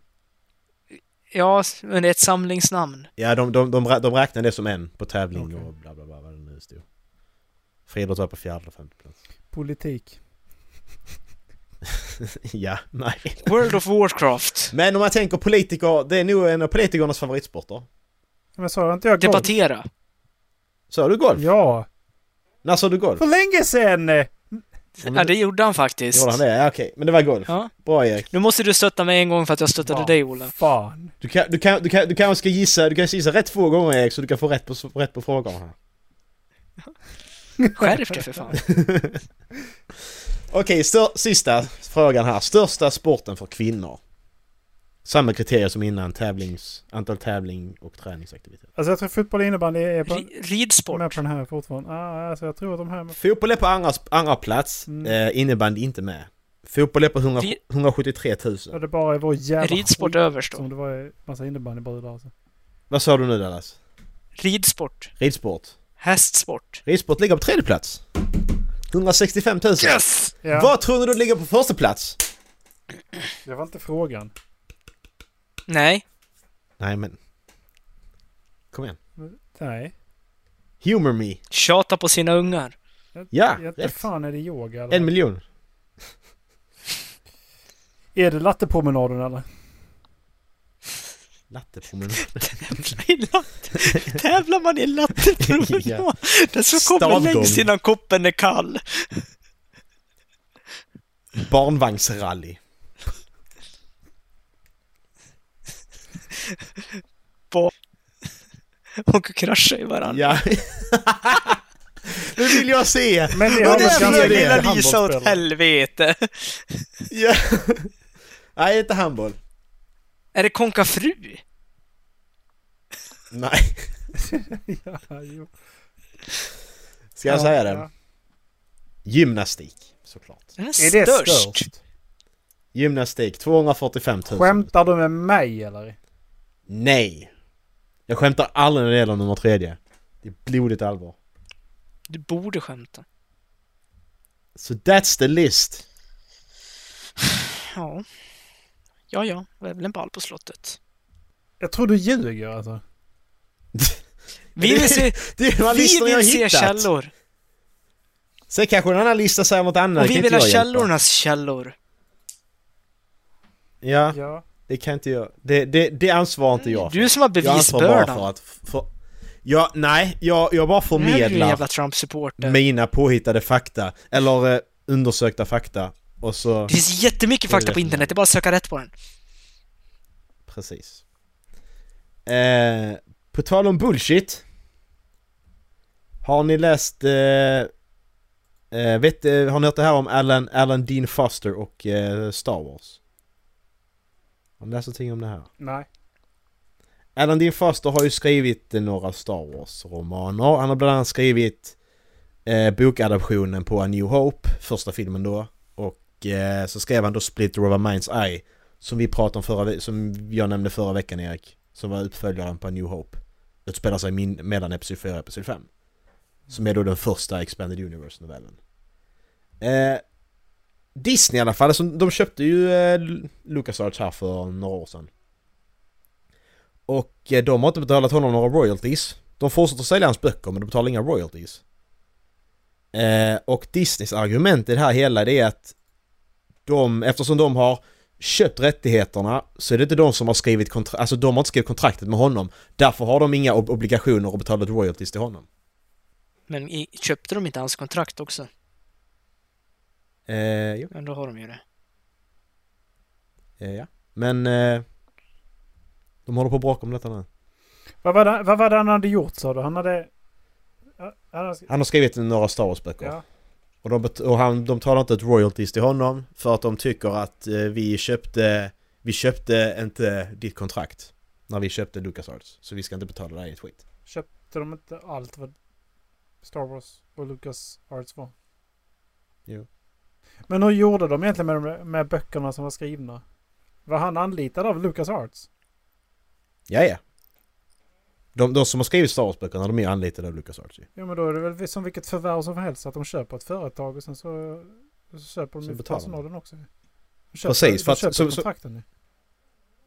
[SPEAKER 4] Ja, men det är ett samlingsnamn.
[SPEAKER 5] Ja, de, de, de, rä- de räknar det som en på tävling
[SPEAKER 3] Okej.
[SPEAKER 5] och bla bla bla vad det nu stod. Friidrott var på fjärde och femte plats.
[SPEAKER 3] Politik.
[SPEAKER 5] ja, nej.
[SPEAKER 4] World of Warcraft?
[SPEAKER 5] Men om man tänker politiker, det är nog en av politikernas favoritsporter.
[SPEAKER 3] Men sa jag inte jag golf?
[SPEAKER 4] Debattera?
[SPEAKER 5] Sa du golf?
[SPEAKER 3] Ja.
[SPEAKER 5] När sa du golf?
[SPEAKER 3] För länge sedan!
[SPEAKER 5] men
[SPEAKER 4] Ja, det gjorde han faktiskt.
[SPEAKER 5] Gjorde han det? Ja, okej. Men det var golf.
[SPEAKER 4] Ja.
[SPEAKER 5] Bra Erik.
[SPEAKER 4] Nu måste du stötta mig en gång för att jag stöttade
[SPEAKER 3] Vad
[SPEAKER 4] dig Ola.
[SPEAKER 3] Fan.
[SPEAKER 5] Du kan, du kan, du kan, du kanske ska gissa, du kan gissa rätt två gånger Erik så du kan få rätt på, rätt på frågorna här.
[SPEAKER 4] Skärp dig för fan.
[SPEAKER 5] Okej, stör, sista frågan här. Största sporten för kvinnor? Samma kriterier som innan, tävlings, antal tävling och träningsaktivitet.
[SPEAKER 3] Alltså jag tror fotboll och innebandy är på,
[SPEAKER 4] Ri- Ridsport?
[SPEAKER 3] med på den här fortfarande. Ah, alltså jag tror att de här... Med,
[SPEAKER 5] Fotboll är på andra, andra plats,
[SPEAKER 3] Mm.
[SPEAKER 5] eh, innebandy inte med. Fotboll är på 100,
[SPEAKER 4] Vi-
[SPEAKER 5] 173 000.
[SPEAKER 3] att det bara är vår jävla
[SPEAKER 4] Ridsport
[SPEAKER 3] skit
[SPEAKER 4] överst då?
[SPEAKER 3] Som det var en massa innebandybrudar alltså.
[SPEAKER 5] Vad sa du nu Dallas?
[SPEAKER 4] Ridsport?
[SPEAKER 5] Ridsport?
[SPEAKER 4] Hästsport?
[SPEAKER 5] Ridsport ligger på tredje plats. 165 000.
[SPEAKER 4] Yes!
[SPEAKER 3] Ja,
[SPEAKER 5] Vad tror ni då ligger på första plats?
[SPEAKER 3] det var inte frågan.
[SPEAKER 4] Nej.
[SPEAKER 5] Nej men... Kom igen.
[SPEAKER 3] Nej.
[SPEAKER 5] Humor me.
[SPEAKER 4] Tjata på sina ungar.
[SPEAKER 5] Ja,
[SPEAKER 3] Jag vet
[SPEAKER 5] rätt.
[SPEAKER 3] inte fan är det yoga eller?
[SPEAKER 5] En miljon.
[SPEAKER 3] Är det lattepromenaden eller?
[SPEAKER 5] Lattepromenad.
[SPEAKER 4] Tävla i latte. Tävlar man i lattepromenad?
[SPEAKER 5] Ja.
[SPEAKER 4] Den som kommer
[SPEAKER 5] Stavgång.
[SPEAKER 4] längst innan koppen är kall.
[SPEAKER 5] Barnvagnsrally.
[SPEAKER 4] Och kraschar i varandra.
[SPEAKER 5] Ja. nu vill jag se!
[SPEAKER 3] Men det
[SPEAKER 5] Ja,
[SPEAKER 4] Och
[SPEAKER 3] har
[SPEAKER 4] det
[SPEAKER 5] men
[SPEAKER 3] väl
[SPEAKER 4] är
[SPEAKER 5] ska
[SPEAKER 3] ganska
[SPEAKER 4] för
[SPEAKER 5] jag det.
[SPEAKER 4] lilla
[SPEAKER 3] mycket
[SPEAKER 4] Lisa åt
[SPEAKER 3] handbollsspelare.
[SPEAKER 4] helvete.
[SPEAKER 5] Ja. Nej, inte handboll.
[SPEAKER 4] Är det konka fru?
[SPEAKER 5] Nej.
[SPEAKER 3] Ja, jo.
[SPEAKER 5] Ska jag
[SPEAKER 3] Ja,
[SPEAKER 5] säga det?
[SPEAKER 3] ja.
[SPEAKER 5] Gymnastik, såklart.
[SPEAKER 4] Den är,
[SPEAKER 3] Är det
[SPEAKER 4] störst.
[SPEAKER 5] Gymnastik, 245 000.
[SPEAKER 3] Skämtar du med mig eller?
[SPEAKER 5] Nej! Jag skämtar aldrig när det gäller nummer tredje. Det är blodigt allvar.
[SPEAKER 4] Du borde skämta.
[SPEAKER 5] So that's the list.
[SPEAKER 4] Ja. Ja, ja. Det är väl en ball på slottet.
[SPEAKER 3] Jag tror du ljuger alltså.
[SPEAKER 4] Vi vill se,
[SPEAKER 5] Det var
[SPEAKER 4] vi
[SPEAKER 5] listor jag
[SPEAKER 4] vill se
[SPEAKER 5] hittat.
[SPEAKER 4] källor.
[SPEAKER 5] Sen kanske en annan lista säger något annat.
[SPEAKER 4] Och
[SPEAKER 5] Det
[SPEAKER 4] vi
[SPEAKER 5] kan
[SPEAKER 4] vill
[SPEAKER 5] inte
[SPEAKER 4] ha
[SPEAKER 5] jag hjälpa.
[SPEAKER 4] källornas källor.
[SPEAKER 5] Ja,
[SPEAKER 3] Ja.
[SPEAKER 5] det kan inte jag. Det, det, det ansvarar inte jag för.
[SPEAKER 4] Du som har
[SPEAKER 5] jag ansvarar bara
[SPEAKER 4] bevisbördan.
[SPEAKER 5] för att... För, ja, nej. Jag, jag bara
[SPEAKER 4] Den här lilla
[SPEAKER 5] förmedlar
[SPEAKER 4] jävla Trump-supporter.
[SPEAKER 5] mina påhittade fakta. Eller eh, undersökta fakta. Och så...
[SPEAKER 4] Det finns jättemycket
[SPEAKER 5] Det är
[SPEAKER 4] fakta på
[SPEAKER 5] det.
[SPEAKER 4] internet, det är bara att söka rätt på den.
[SPEAKER 5] Precis. Eh, på tal om bullshit. Har ni läst... Eh, eh, vet, eh, har ni hört det här om Alan, Alan Dean Foster och eh, Star Wars? Har ni läst någonting om det här?
[SPEAKER 3] Nej.
[SPEAKER 5] Alan Dean Foster har ju skrivit eh, några Star Wars-romaner. Han har bland annat skrivit eh, bokadaptionen på A New Hope, första filmen då. Och eh, så skrev han då Split of a Mind's Eye, som vi pratade om förra ve- som jag nämnde förra veckan Erik. Som var uppföljaren på A New Hope. Utspelar sig min- mellan Episod 4 och Episod 5. Som är då den första Expanded Universe-novellen. Eh, Disney i alla fall, alltså, de köpte ju eh, LucasArts här för några år sedan. Och eh, de har inte betalat honom några royalties. De fortsätter sälja hans böcker men de betalar inga royalties. Eh, och Disneys argument i det här hela det är att de, eftersom de har köpt rättigheterna så är det inte de som har skrivit kontrakt, alltså de har inte skrivit kontraktet med honom. Därför har de inga ob- obligationer och betalat royalties till honom.
[SPEAKER 4] Men i, köpte de inte hans kontrakt också?
[SPEAKER 5] Eh, jo,
[SPEAKER 4] Men då har de ju det.
[SPEAKER 5] eh, ja. Men eh, de håller på att bråka om detta nu.
[SPEAKER 3] Vad var, det, vad var det han hade gjort sa du? Han hade... Ja, Han hade...
[SPEAKER 5] Han har skrivit några Star Wars-böcker.
[SPEAKER 3] Ja.
[SPEAKER 5] Och, de, bet- och han, de talar inte ett royalties till honom för att de tycker att eh, vi köpte, vi köpte inte ditt kontrakt när vi köpte LucasArts. Så vi ska inte betala dig ett skit.
[SPEAKER 3] Köpte de inte allt vad Star Wars och Lucas Arts var?
[SPEAKER 5] Jo.
[SPEAKER 3] Men hur gjorde de egentligen med, de, med böckerna som var skrivna? Var han anlitad av Lucas Arts?
[SPEAKER 5] Ja, ja. De, de som har skrivit Star Wars-böckerna, de är anlitade av LucasArts ju.
[SPEAKER 3] Jo men då är det väl som vilket förvärv som helst att de köper ett företag och sen så, så köper de
[SPEAKER 5] Så
[SPEAKER 3] ju
[SPEAKER 5] betalar de.
[SPEAKER 3] personalen också. De köper,
[SPEAKER 5] Precis, för
[SPEAKER 3] de
[SPEAKER 5] att-
[SPEAKER 3] köper
[SPEAKER 5] så- så-
[SPEAKER 3] kontrakten nu.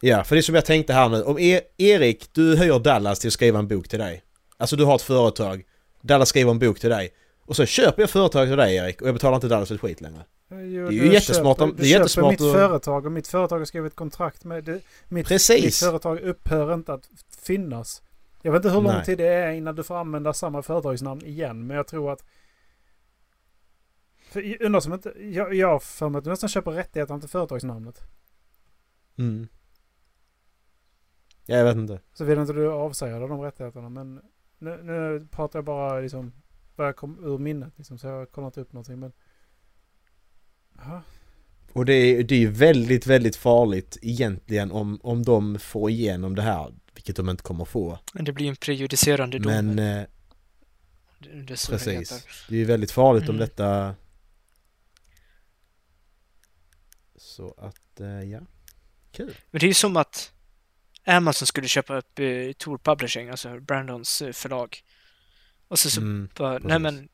[SPEAKER 5] Ja, för det är som jag tänkte här nu. Om E- Erik, du höjer Dallas till att skriva en bok till dig. Alltså du har ett företag. Dallas skriver en bok till dig. Och så köper jag företag till dig Erik och jag betalar inte Dallas ett skit längre.
[SPEAKER 3] Jo,
[SPEAKER 5] Det är ju
[SPEAKER 3] du
[SPEAKER 5] jättesmart om-
[SPEAKER 3] Köper,
[SPEAKER 5] det är
[SPEAKER 3] du köper
[SPEAKER 5] jättesmart
[SPEAKER 3] mitt
[SPEAKER 5] att-
[SPEAKER 3] företag och mitt företag har skrivit kontrakt med... Det, mitt,
[SPEAKER 5] Precis.
[SPEAKER 3] mitt företag upphör inte att finnas. Jag vet inte hur lång
[SPEAKER 5] Nej.
[SPEAKER 3] tid det är innan du får använda samma företagsnamn igen. Men jag tror att... För jag undrar som inte... Jag, jag har för mig att du nästan köper rättigheterna till företagsnamnet.
[SPEAKER 5] Mm. Ja, jag vet inte.
[SPEAKER 3] Såvida inte du avsäger dig de rättigheterna. Men nu, nu pratar jag bara liksom... Vad jag kom ur minnet liksom. Så jag har kollat upp någonting. Men... Jaha.
[SPEAKER 5] Och det är, det är ju väldigt, väldigt farligt egentligen om, om de får igenom det här, vilket de inte kommer få.
[SPEAKER 4] Men det blir ju en prejudicerande dom.
[SPEAKER 5] Men
[SPEAKER 4] Men,
[SPEAKER 5] eh,
[SPEAKER 4] det, det är så det
[SPEAKER 5] precis,
[SPEAKER 4] heter.
[SPEAKER 5] det är ju väldigt farligt om
[SPEAKER 4] Mm.
[SPEAKER 5] detta... Så att, eh, ja. Kul.
[SPEAKER 4] Men det är ju som att Amazon skulle köpa upp eh, Tor Publishing, alltså Brandons eh, förlag. Och så, så
[SPEAKER 5] Mm.
[SPEAKER 4] bara, nej
[SPEAKER 5] precis.
[SPEAKER 4] men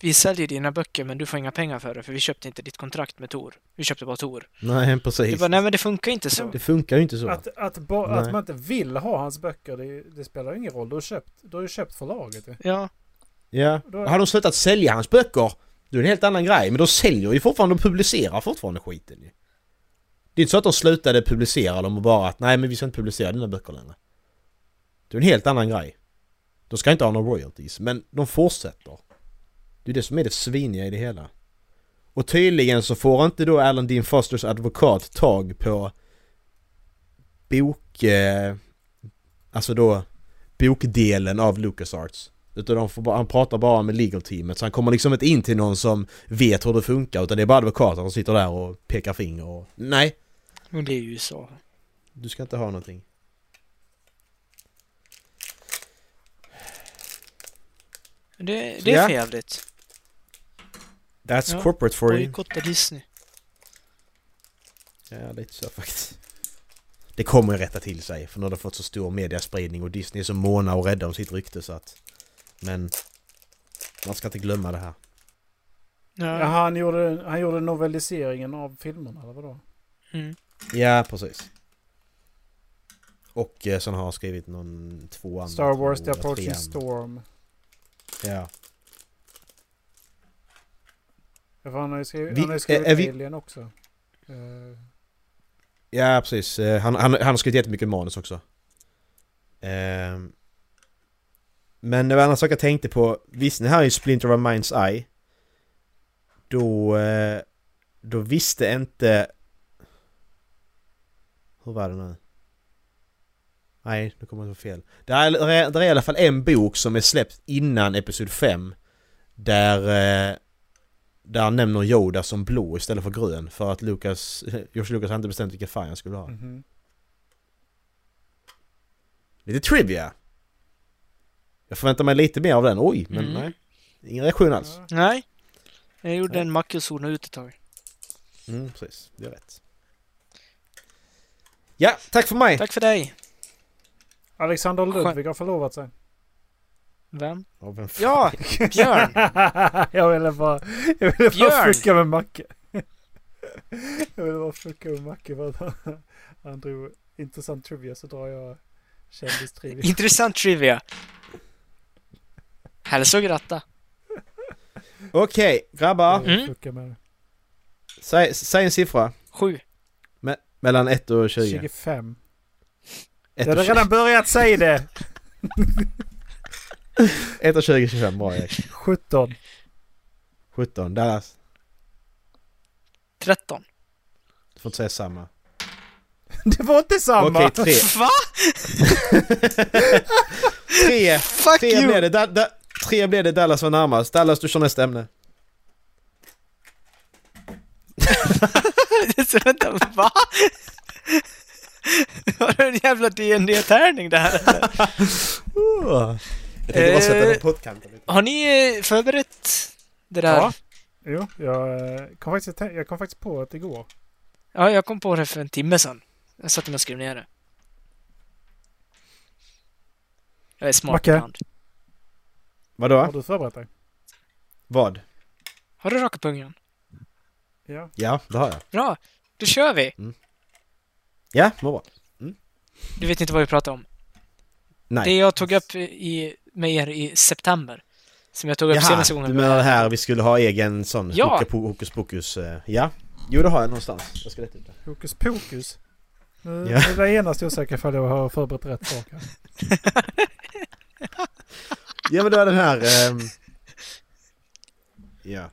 [SPEAKER 4] vi säljer dina böcker men du får inga pengar för det för vi köpte inte ditt kontrakt med Tor. Vi köpte bara Tor.
[SPEAKER 5] Nej,
[SPEAKER 4] Det
[SPEAKER 5] precis.
[SPEAKER 4] bara, nej men det funkar inte så.
[SPEAKER 5] Det funkar ju inte så.
[SPEAKER 3] Att, att, ba,
[SPEAKER 5] Nej.
[SPEAKER 3] att man inte vill ha hans böcker, det, är ju- det spelar ju ingen roll. Du har köpt, du har ju köpt förlaget. ju.
[SPEAKER 4] Ja,
[SPEAKER 5] Ja.
[SPEAKER 3] Då-
[SPEAKER 5] Hade de slutat sälja hans böcker, då är det en helt annan grej. Men de säljer ju fortfarande, de publicerar fortfarande skiten ju. Det är inte så att de slutade publicera dem och bara att nej men vi ska inte publicera dina böcker längre. Det är en helt annan grej. De ska inte ha några royalties, men de fortsätter. Det är det som är det sviniga i det hela. Och tydligen så får inte då Alan Dean Fosters advokat tag på bok... Eh, alltså då bokdelen av LucasArts. Utan de får bara, han pratar bara med legal teamet så han kommer liksom inte in till någon som vet hur det funkar utan det är bara advokaten som sitter där och pekar finger och... Nej!
[SPEAKER 4] Men det är ju så.
[SPEAKER 5] Du ska inte ha någonting.
[SPEAKER 4] Det,
[SPEAKER 5] Så
[SPEAKER 4] det är
[SPEAKER 5] ja.
[SPEAKER 4] för jävligt.
[SPEAKER 5] That's
[SPEAKER 4] Ja,
[SPEAKER 5] corporate for you.
[SPEAKER 4] Bojkotta Disney.
[SPEAKER 5] Ja, lite så faktiskt. Det kommer ju rätta till sig för nu har det fått så stor mediaspridning och Disney är så måna och rädda om sitt rykte så att... Men... Man ska inte glömma det här.
[SPEAKER 4] Ja.
[SPEAKER 3] Ja, han, gjorde, han gjorde novelliseringen av filmerna eller vadå?
[SPEAKER 4] Mm.
[SPEAKER 5] Ja, precis. Och eh, sen har han skrivit någon tvåan.
[SPEAKER 3] Star Wars The
[SPEAKER 5] tvåan,
[SPEAKER 3] Approaching
[SPEAKER 5] trean.
[SPEAKER 3] Storm.
[SPEAKER 5] Ja.
[SPEAKER 3] Ja, för Han har ju skrivit,
[SPEAKER 5] Vi-
[SPEAKER 3] han har ju skrivit
[SPEAKER 5] är- är vi-
[SPEAKER 3] Alien också. Eh,
[SPEAKER 5] ja, precis. Eh, Han, han, han har skrivit jättemycket manus också. Ehm. Men det var en annan sak jag tänkte på. Visst, det här är ju Splinter of Minds Eye. Då... eh, Då visste inte... Hur var det nu? Nej, nu kommer jag inte fel. Det är, det är i alla fall en bok som är släppt innan Episod 5. Där... eh, Där han nämner Yoda som blå istället för grön. För att Lucas... George Lucas hade inte bestämt vilken färg han skulle ha.
[SPEAKER 3] mhm.
[SPEAKER 5] Lite trivia! Jag förväntar mig lite mer av den. Oj, men
[SPEAKER 4] Mm.
[SPEAKER 5] nej. Ingen reaktion alls.
[SPEAKER 3] Ja.
[SPEAKER 4] Nej. Jag gjorde
[SPEAKER 5] Nej.
[SPEAKER 4] en macka och zonade ut ett tag.
[SPEAKER 5] Mm, precis. Det är rätt. Ja, tack för mig!
[SPEAKER 4] Tack för dig.
[SPEAKER 3] Alexander
[SPEAKER 4] Skönt.
[SPEAKER 3] Ludvig har förlovat sig.
[SPEAKER 4] Vem?
[SPEAKER 5] Ja, vem fan-
[SPEAKER 4] Ja! Björn!
[SPEAKER 3] jag ville bara, jag ville bara
[SPEAKER 4] Björn!
[SPEAKER 3] fucka med Macke. jag ville bara fucka med Macke för att han, han drog intressant trivia så drar jag kändis-trivia.
[SPEAKER 4] Intressant trivia. Hälsa och gratta.
[SPEAKER 5] Okej, grabbar.
[SPEAKER 3] Jag vill
[SPEAKER 4] Mm.
[SPEAKER 3] fucka med det.
[SPEAKER 5] Säg, säg en siffra.
[SPEAKER 4] Sju.
[SPEAKER 5] Me mellan 1 och 20.
[SPEAKER 3] 25.
[SPEAKER 5] Ett
[SPEAKER 3] Jag
[SPEAKER 5] och
[SPEAKER 3] hade
[SPEAKER 5] 20.
[SPEAKER 3] redan börjat säga det!
[SPEAKER 5] 1 och 20, 25. Bra Erik.
[SPEAKER 3] 17.
[SPEAKER 5] 17. Dallas.
[SPEAKER 4] Tretton.
[SPEAKER 5] Du får inte säga samma.
[SPEAKER 3] Det var inte samma!
[SPEAKER 5] Okej, 3.
[SPEAKER 4] Va?
[SPEAKER 5] 3.
[SPEAKER 4] Fuck
[SPEAKER 5] 3
[SPEAKER 4] you!
[SPEAKER 5] blev det. Da, da, 3 blev det. Dallas var närmast. Dallas, du kör nästa ämne.
[SPEAKER 4] Så Vänta, va? Var det en jävla dd tärning det här?
[SPEAKER 5] Jag tänkte bara sätta
[SPEAKER 4] Eh.
[SPEAKER 5] den på pottkanten lite.
[SPEAKER 4] Har ni eh, förberett det där?
[SPEAKER 3] Ja. Jo, jag eh, kom, faktiskt, att tän- jag kom faktiskt på att igår.
[SPEAKER 4] Ja, jag kom på det för en timme sedan. Jag satte mig och skrev ner det. Jag är smart
[SPEAKER 3] Macke?
[SPEAKER 4] ibland.
[SPEAKER 3] Har
[SPEAKER 5] Vadå?
[SPEAKER 3] du förberett dig?
[SPEAKER 5] Vad?
[SPEAKER 4] Har du raka pungen?
[SPEAKER 3] Ja.
[SPEAKER 5] Ja, det har jag.
[SPEAKER 4] Bra! Då kör vi!
[SPEAKER 5] Ja, vad bra.
[SPEAKER 4] Du vet inte vad vi pratar om.
[SPEAKER 5] Nej.
[SPEAKER 4] Det jag tog upp i, med er i september. Som jag tog upp senaste
[SPEAKER 5] du
[SPEAKER 4] gången.
[SPEAKER 5] menar det här vi skulle ha egen sån
[SPEAKER 4] Ja.
[SPEAKER 5] ja. hokus pokus? eh, Ja. Jo, det har jag någonstans. Jag ska leta ut det.
[SPEAKER 3] Hokus pokus. Nu
[SPEAKER 5] Ja.
[SPEAKER 3] nu är jag genast osäker ifall jag har förberett rätt sak. här.
[SPEAKER 5] Ja, men det var den här... ehm, Ja.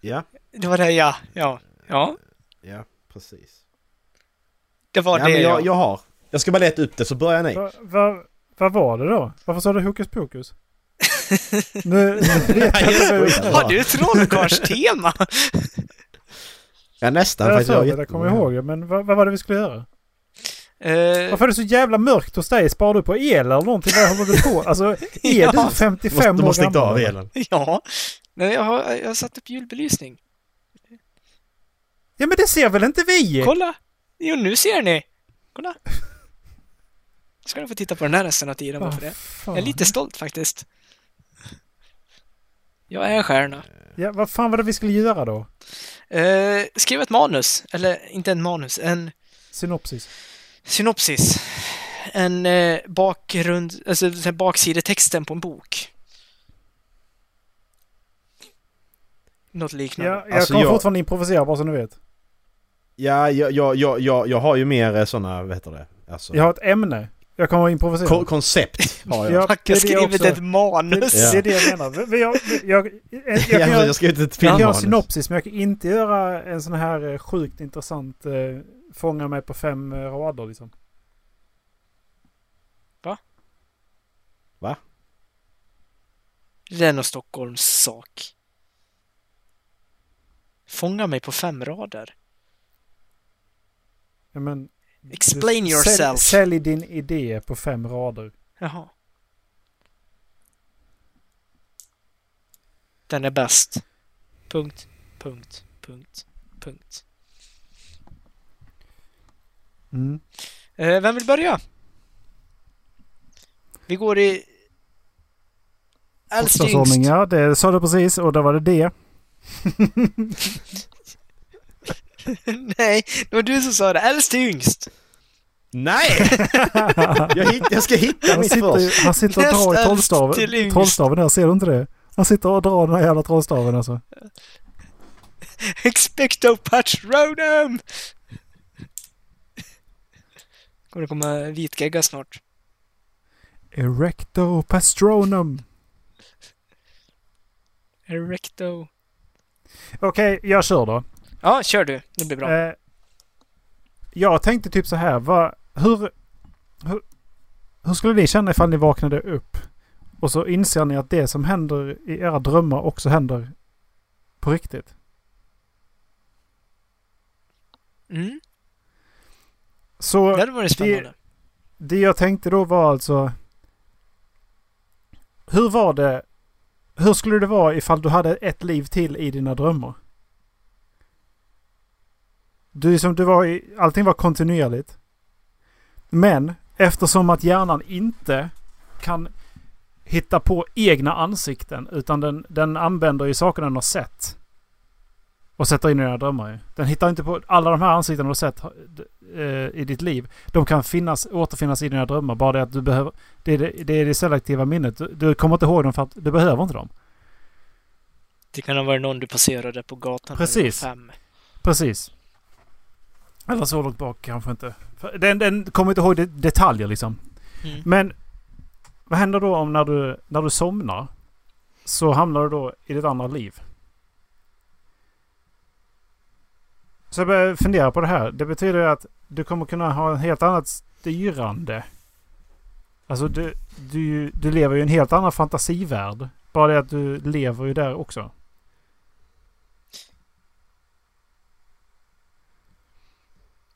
[SPEAKER 5] Ja,
[SPEAKER 4] Det var det ja. Ja. Ja.
[SPEAKER 5] ja, precis.
[SPEAKER 4] Det var
[SPEAKER 5] ja,
[SPEAKER 4] det
[SPEAKER 5] men
[SPEAKER 4] jag,
[SPEAKER 5] jag, jag har. Jag ska bara leta upp det så börjar ni.
[SPEAKER 3] Va, va, vad var det då? Varför sa du hokus pokus? nu vet jag inte. vad jag sa.
[SPEAKER 4] Har du trollkarlstema?
[SPEAKER 5] Ja, nästan.
[SPEAKER 3] Jag
[SPEAKER 5] faktiskt.
[SPEAKER 3] sa
[SPEAKER 5] har
[SPEAKER 3] det,
[SPEAKER 5] jätte-
[SPEAKER 3] jag kommer ihåg det. Men vad, vad var det vi skulle göra?
[SPEAKER 4] Eh,
[SPEAKER 3] Varför är det så jävla mörkt hos dig? Sparar du på el eller någonting? Vad håller du på? Alltså, är
[SPEAKER 4] Ja.
[SPEAKER 3] du
[SPEAKER 5] Du måste,
[SPEAKER 3] 55
[SPEAKER 5] du
[SPEAKER 3] år
[SPEAKER 5] måste stänga av
[SPEAKER 3] gammal?
[SPEAKER 5] elen.
[SPEAKER 4] ja. Nej, jag har, jag har satt upp julbelysning.
[SPEAKER 3] Ja men det ser väl inte vi?
[SPEAKER 4] Kolla! Jo, nu ser ni! Kolla! Ska ni få titta på den här resten av tiden bara
[SPEAKER 3] Vad
[SPEAKER 4] för det.
[SPEAKER 3] fan?
[SPEAKER 4] Jag är lite stolt faktiskt. Jag är en stjärna.
[SPEAKER 3] Ja, vad fan var det vi skulle göra då?
[SPEAKER 4] Eh, skriv ett manus, eller inte en manus, en
[SPEAKER 3] Synopsis.
[SPEAKER 4] synopsis. En eh, bakgrund, alltså så här baksidetexten på en bok. Något liknande.
[SPEAKER 3] Ja, jag
[SPEAKER 5] Alltså,
[SPEAKER 3] kommer
[SPEAKER 5] jag-
[SPEAKER 3] fortfarande improvisera bara så ni vet.
[SPEAKER 5] Ja, jag, jag, jag, jag, jag har ju mer sådana, vad heter det? Alltså,
[SPEAKER 3] Jag har ett ämne. Jag kommer att improvisera.
[SPEAKER 5] ko- koncept har jag.
[SPEAKER 3] Ja,
[SPEAKER 4] Tack,
[SPEAKER 3] det
[SPEAKER 4] jag
[SPEAKER 3] är det
[SPEAKER 4] har skrivit
[SPEAKER 3] också.
[SPEAKER 4] ett manus.
[SPEAKER 5] Ja.
[SPEAKER 3] Det är det jag menar. Vi- vi- Jag, jag, jag, jag,
[SPEAKER 5] Jag,
[SPEAKER 3] kan göra-
[SPEAKER 5] jag ska ut ett
[SPEAKER 3] jag kan göra en
[SPEAKER 5] filmmanus.
[SPEAKER 3] synopsis men jag kan inte göra en sån här eh, sjukt intressant eh, fånga mig på fem eh, rader liksom.
[SPEAKER 4] Det är någon Stockholms sak. Fånga mig på fem rader.
[SPEAKER 3] Ja, men,
[SPEAKER 4] Explain
[SPEAKER 3] sälj-
[SPEAKER 4] yourself.
[SPEAKER 3] Sälj din idé på fem rader.
[SPEAKER 4] Jaha. Den är bäst. Punkt, punkt, punkt, punkt.
[SPEAKER 3] Mm.
[SPEAKER 4] Eh, vem vill börja? Vi går i... Äldst yngst.
[SPEAKER 3] Bokstavsordningar, det sa du precis och då var det det.
[SPEAKER 4] Nej, det var du som sa det. Äldst till yngst.
[SPEAKER 5] Nej! jag, hitt, jag ska hitta
[SPEAKER 3] Han
[SPEAKER 5] mitt
[SPEAKER 3] sitter, ju-
[SPEAKER 5] först.
[SPEAKER 3] han sitter och
[SPEAKER 4] Näst
[SPEAKER 3] drar i
[SPEAKER 4] äldst till
[SPEAKER 3] trollstaven.
[SPEAKER 4] yngst.
[SPEAKER 3] Trollstaven där, ser du inte det? Han sitter och drar den här jävla trollstaven alltså.
[SPEAKER 4] Expecto Patronum! Kommer det komma vitgegga snart?
[SPEAKER 3] Erecto pastronum.
[SPEAKER 4] Erecto.
[SPEAKER 3] Okej, jag kör då.
[SPEAKER 4] Ja, kör du. Det blir bra.
[SPEAKER 3] Eh, jag tänkte typ så här. Vad, hur, hur, hur skulle ni känna ifall ni vaknade upp och så inser ni att det som händer i era drömmar också händer på riktigt?
[SPEAKER 4] Mm. Det
[SPEAKER 3] Så
[SPEAKER 4] hade varit spännande.
[SPEAKER 3] det jag tänkte då var alltså... Hur var det? Hur skulle det vara ifall du hade ett liv till i dina drömmar? Du, som du var i, allting var kontinuerligt. Men eftersom att hjärnan inte kan hitta på egna ansikten utan den, den använder ju saker den har sett. Och sätter in i dina drömmar ju. Den hittar inte på alla de här ansiktena du har sett eh, i ditt liv. De kan finnas, återfinnas i dina drömmar. Bara det att du behöver... Det är det, det, är det selektiva minnet. Du, du kommer inte ihåg dem för att du behöver inte dem.
[SPEAKER 4] Det kan ha varit någon du passerade på gatan när du var
[SPEAKER 3] Precis.
[SPEAKER 4] fem.
[SPEAKER 3] Precis. Eller så långt bak kanske inte. För Den, den kommer inte ihåg det- detaljer liksom.
[SPEAKER 4] Mm.
[SPEAKER 3] Men vad händer då om när du, när du somnar så hamnar du då i ditt andra liv? Så jag börjar fundera på det här. Det betyder ju att du kommer kunna ha en helt annat styrande. Alltså du, du, du lever ju i en helt annan fantasivärld. Bara det att du lever ju där också.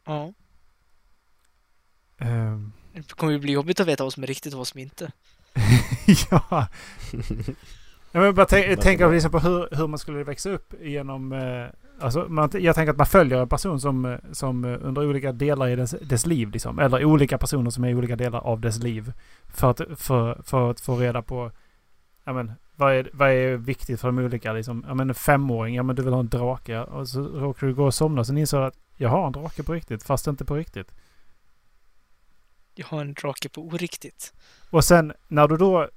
[SPEAKER 4] Ja.
[SPEAKER 3] Ehm,
[SPEAKER 4] Det kommer ju bli jobbigt att veta vad som är riktigt och vad som inte.
[SPEAKER 3] ja. Jag men bara tänk,
[SPEAKER 5] Varför
[SPEAKER 3] tänker
[SPEAKER 5] då?
[SPEAKER 3] liksom på hur, hur man skulle växa upp genom... Eh, alltså man, jag tänker att man följer en person som, eh, som eh, under olika delar i dess, dess liv. Liksom, eller olika personer som är i olika delar av dess liv. För att, för, för att få reda på... Ja, men, vad, är, vad är viktigt för de olika? Liksom, ja, men, en femåring, ja, men du vill ha en drake. ja, Och så råkar du gå och somna. Sen inser du att jag har en drake på riktigt, fast inte på riktigt.
[SPEAKER 4] Jag har en drake på oriktigt.
[SPEAKER 3] Och sen när du då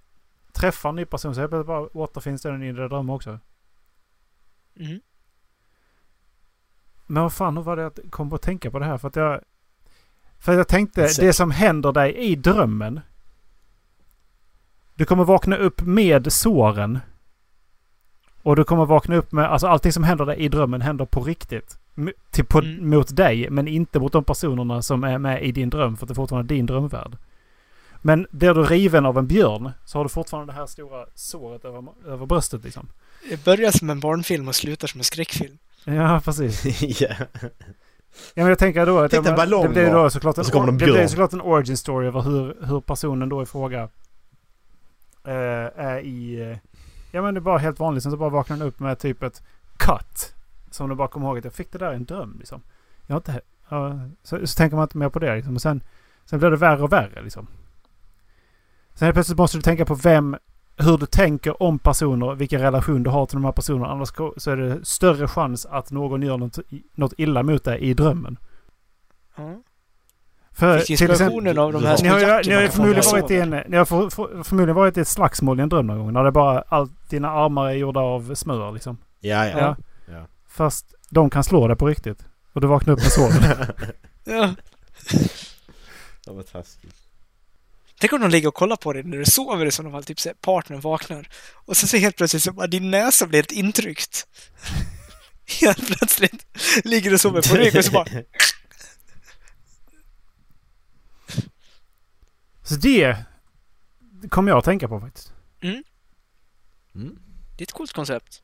[SPEAKER 3] träffar en ny person så helt plötsligt bara återfinns den i dina drömmar också.
[SPEAKER 4] Mm.
[SPEAKER 3] Men vad fan, hur var det jag kom på att tänka på det här? För att jag... För att jag tänkte,
[SPEAKER 5] Säkert.
[SPEAKER 3] det som händer dig i drömmen. Du kommer vakna upp med såren. Och du kommer vakna upp med, alltså allting som händer dig i drömmen händer på riktigt. M- Till, på,
[SPEAKER 4] Mm.
[SPEAKER 3] Mot dig, men inte mot de personerna som är med i din dröm. För att det är fortfarande din drömvärld. Men blir du riven av en björn så har du fortfarande det här stora såret över, över bröstet liksom.
[SPEAKER 4] Det börjar som en barnfilm och slutar som en skräckfilm.
[SPEAKER 3] Ja, precis.
[SPEAKER 5] ja.
[SPEAKER 3] Ja, men jag tänker då att
[SPEAKER 5] Titta,
[SPEAKER 3] ja, men
[SPEAKER 5] ballong
[SPEAKER 3] det blir ju
[SPEAKER 5] då.
[SPEAKER 3] då såklart en,
[SPEAKER 5] Och så kommer de
[SPEAKER 3] det blir
[SPEAKER 5] björn.
[SPEAKER 3] ju såklart en origin story över hur, hur personen då i fråga eh, är i... eh, Ja men det är bara helt vanligt. Sen så bara vaknar den upp med typ ett cut. Som du bara kommer ihåg att jag fick det där i en dröm liksom. Jag har inte, ja, så, så tänker man inte mer på det liksom. Och sen, sen blir det värre och värre liksom. Sen helt plötsligt måste du tänka på vem, hur du tänker om personer, vilken relation du har till de här personerna. Annars ko- så är det större chans att någon gör något, något illa mot dig i drömmen.
[SPEAKER 4] Ja.
[SPEAKER 3] För
[SPEAKER 4] Fick inspirationen av de här
[SPEAKER 3] ni
[SPEAKER 4] små
[SPEAKER 3] har ju,
[SPEAKER 4] jackorna
[SPEAKER 3] ni har ju
[SPEAKER 4] man kan
[SPEAKER 3] förmodligen,
[SPEAKER 4] få
[SPEAKER 3] varit i en, ni har för, för, förmodligen varit i ett slagsmål i en dröm någon gång. När det bara, allt, dina armar är gjorda av smör liksom.
[SPEAKER 5] Ja, ja.
[SPEAKER 3] Fast de kan slå dig på riktigt. Och du vaknar upp med sonen.
[SPEAKER 4] alltså- Ja.
[SPEAKER 5] Det var taskigt.
[SPEAKER 4] Tänk om de ligger och kollar på dig när du sover i sådana fall, typ såhär, partnern vaknar. Och sen så helt plötsligt så bara, din näsa blir helt intryckt. helt plötsligt ligger du och sover på rygg och så bara,
[SPEAKER 3] Så det kommer jag att tänka på faktiskt.
[SPEAKER 4] det är ett coolt koncept.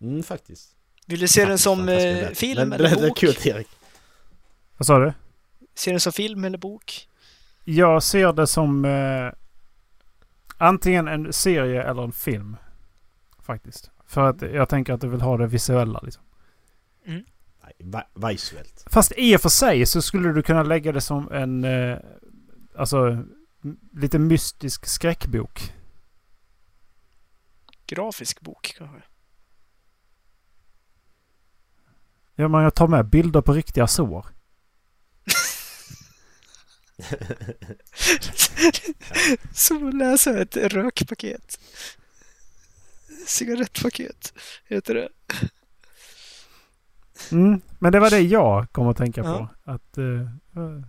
[SPEAKER 5] Mm, faktiskt.
[SPEAKER 4] Vill du se den
[SPEAKER 5] Faktiskt
[SPEAKER 4] som
[SPEAKER 5] fantastiskt
[SPEAKER 4] eh,
[SPEAKER 5] bättre.
[SPEAKER 4] film
[SPEAKER 5] Men
[SPEAKER 4] eller
[SPEAKER 5] det, det är
[SPEAKER 4] bok?
[SPEAKER 5] kul Erik.
[SPEAKER 3] Vad sa du?
[SPEAKER 4] Ser den som film eller bok?
[SPEAKER 3] Jag ser det som eh, antingen en serie eller en film. Faktiskt. För att jag tänker att du vill ha det visuella liksom.
[SPEAKER 5] Nej, vi- visuellt.
[SPEAKER 3] Fast i och för sig så skulle du kunna lägga det som en... Eh, alltså m- lite mystisk skräckbok.
[SPEAKER 4] Grafisk bok kanske?
[SPEAKER 3] Ja, men jag tar med bilder på riktiga sår.
[SPEAKER 4] Så läser jag ett rökpaket. Cigarettpaket heter det.
[SPEAKER 3] Mm, men det var det jag kom att tänka
[SPEAKER 4] Ja.
[SPEAKER 3] på. Att, eh, eh,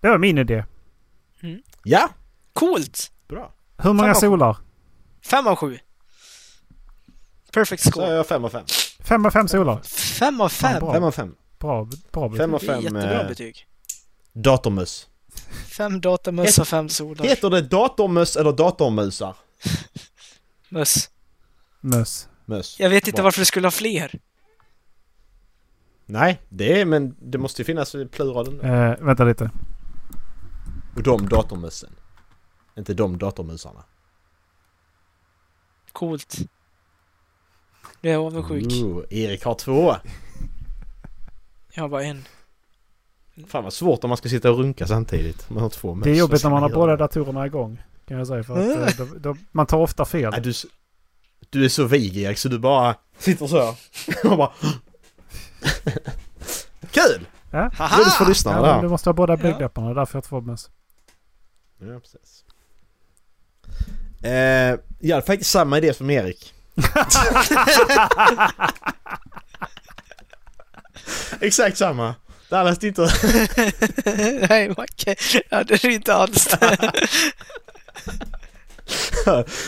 [SPEAKER 3] det var min idé.
[SPEAKER 5] Ja!
[SPEAKER 4] Coolt!
[SPEAKER 5] Bra.
[SPEAKER 3] Hur många
[SPEAKER 4] vad-
[SPEAKER 3] solar?
[SPEAKER 4] Fem av sju. Perfect
[SPEAKER 5] Så
[SPEAKER 4] score.
[SPEAKER 5] är jag fem av fem.
[SPEAKER 3] Fem av fem solar.
[SPEAKER 4] Fem av
[SPEAKER 3] Fan,
[SPEAKER 4] fem.
[SPEAKER 3] bra.
[SPEAKER 5] Fem av fem.
[SPEAKER 3] Bra, bra betyg.
[SPEAKER 5] Fem av
[SPEAKER 4] Det är
[SPEAKER 5] fem.
[SPEAKER 4] jättebra
[SPEAKER 5] eh,
[SPEAKER 4] betyg.
[SPEAKER 5] Datormus.
[SPEAKER 4] Fem datamöss
[SPEAKER 5] Ett-
[SPEAKER 4] och fem solar.
[SPEAKER 5] Heter det datormus eller datormusar?
[SPEAKER 4] Möss.
[SPEAKER 3] Möss.
[SPEAKER 5] Möss.
[SPEAKER 4] Jag vet inte
[SPEAKER 5] Bra.
[SPEAKER 4] varför du skulle ha fler.
[SPEAKER 5] Nej, det är men det måste ju finnas i pluralen.
[SPEAKER 3] Eh, vänta lite.
[SPEAKER 5] Och de datormössen. Inte de datormusarna.
[SPEAKER 4] Coolt. Nu är jag avundsjuk.
[SPEAKER 5] Ooh, Erik har två.
[SPEAKER 4] Jag har bara en.
[SPEAKER 5] Fan vad svårt om man ska sitta och runka samtidigt. Man har två möss.
[SPEAKER 3] Det är
[SPEAKER 5] Vad
[SPEAKER 3] jobbigt
[SPEAKER 5] ska
[SPEAKER 3] när man har
[SPEAKER 5] göra?
[SPEAKER 3] båda datorerna igång. Kan jag säga. För att, eh, då, då, man tar ofta fel.
[SPEAKER 5] Nej, du, s- du är så vig Erik så du bara sitter så här. och bara... Kul!
[SPEAKER 3] Ja.
[SPEAKER 5] Roligt för lyssnarna
[SPEAKER 3] Ja, men du
[SPEAKER 5] där.
[SPEAKER 3] måste ha båda
[SPEAKER 4] Ja.
[SPEAKER 3] blygdläpparna. Därför jag har två möss.
[SPEAKER 5] Ja, precis. Eh, jag hade faktiskt samma idé som Erik. Exakt samma. Dallas det inte...
[SPEAKER 4] Nej, Macke. Ja, det är inte alls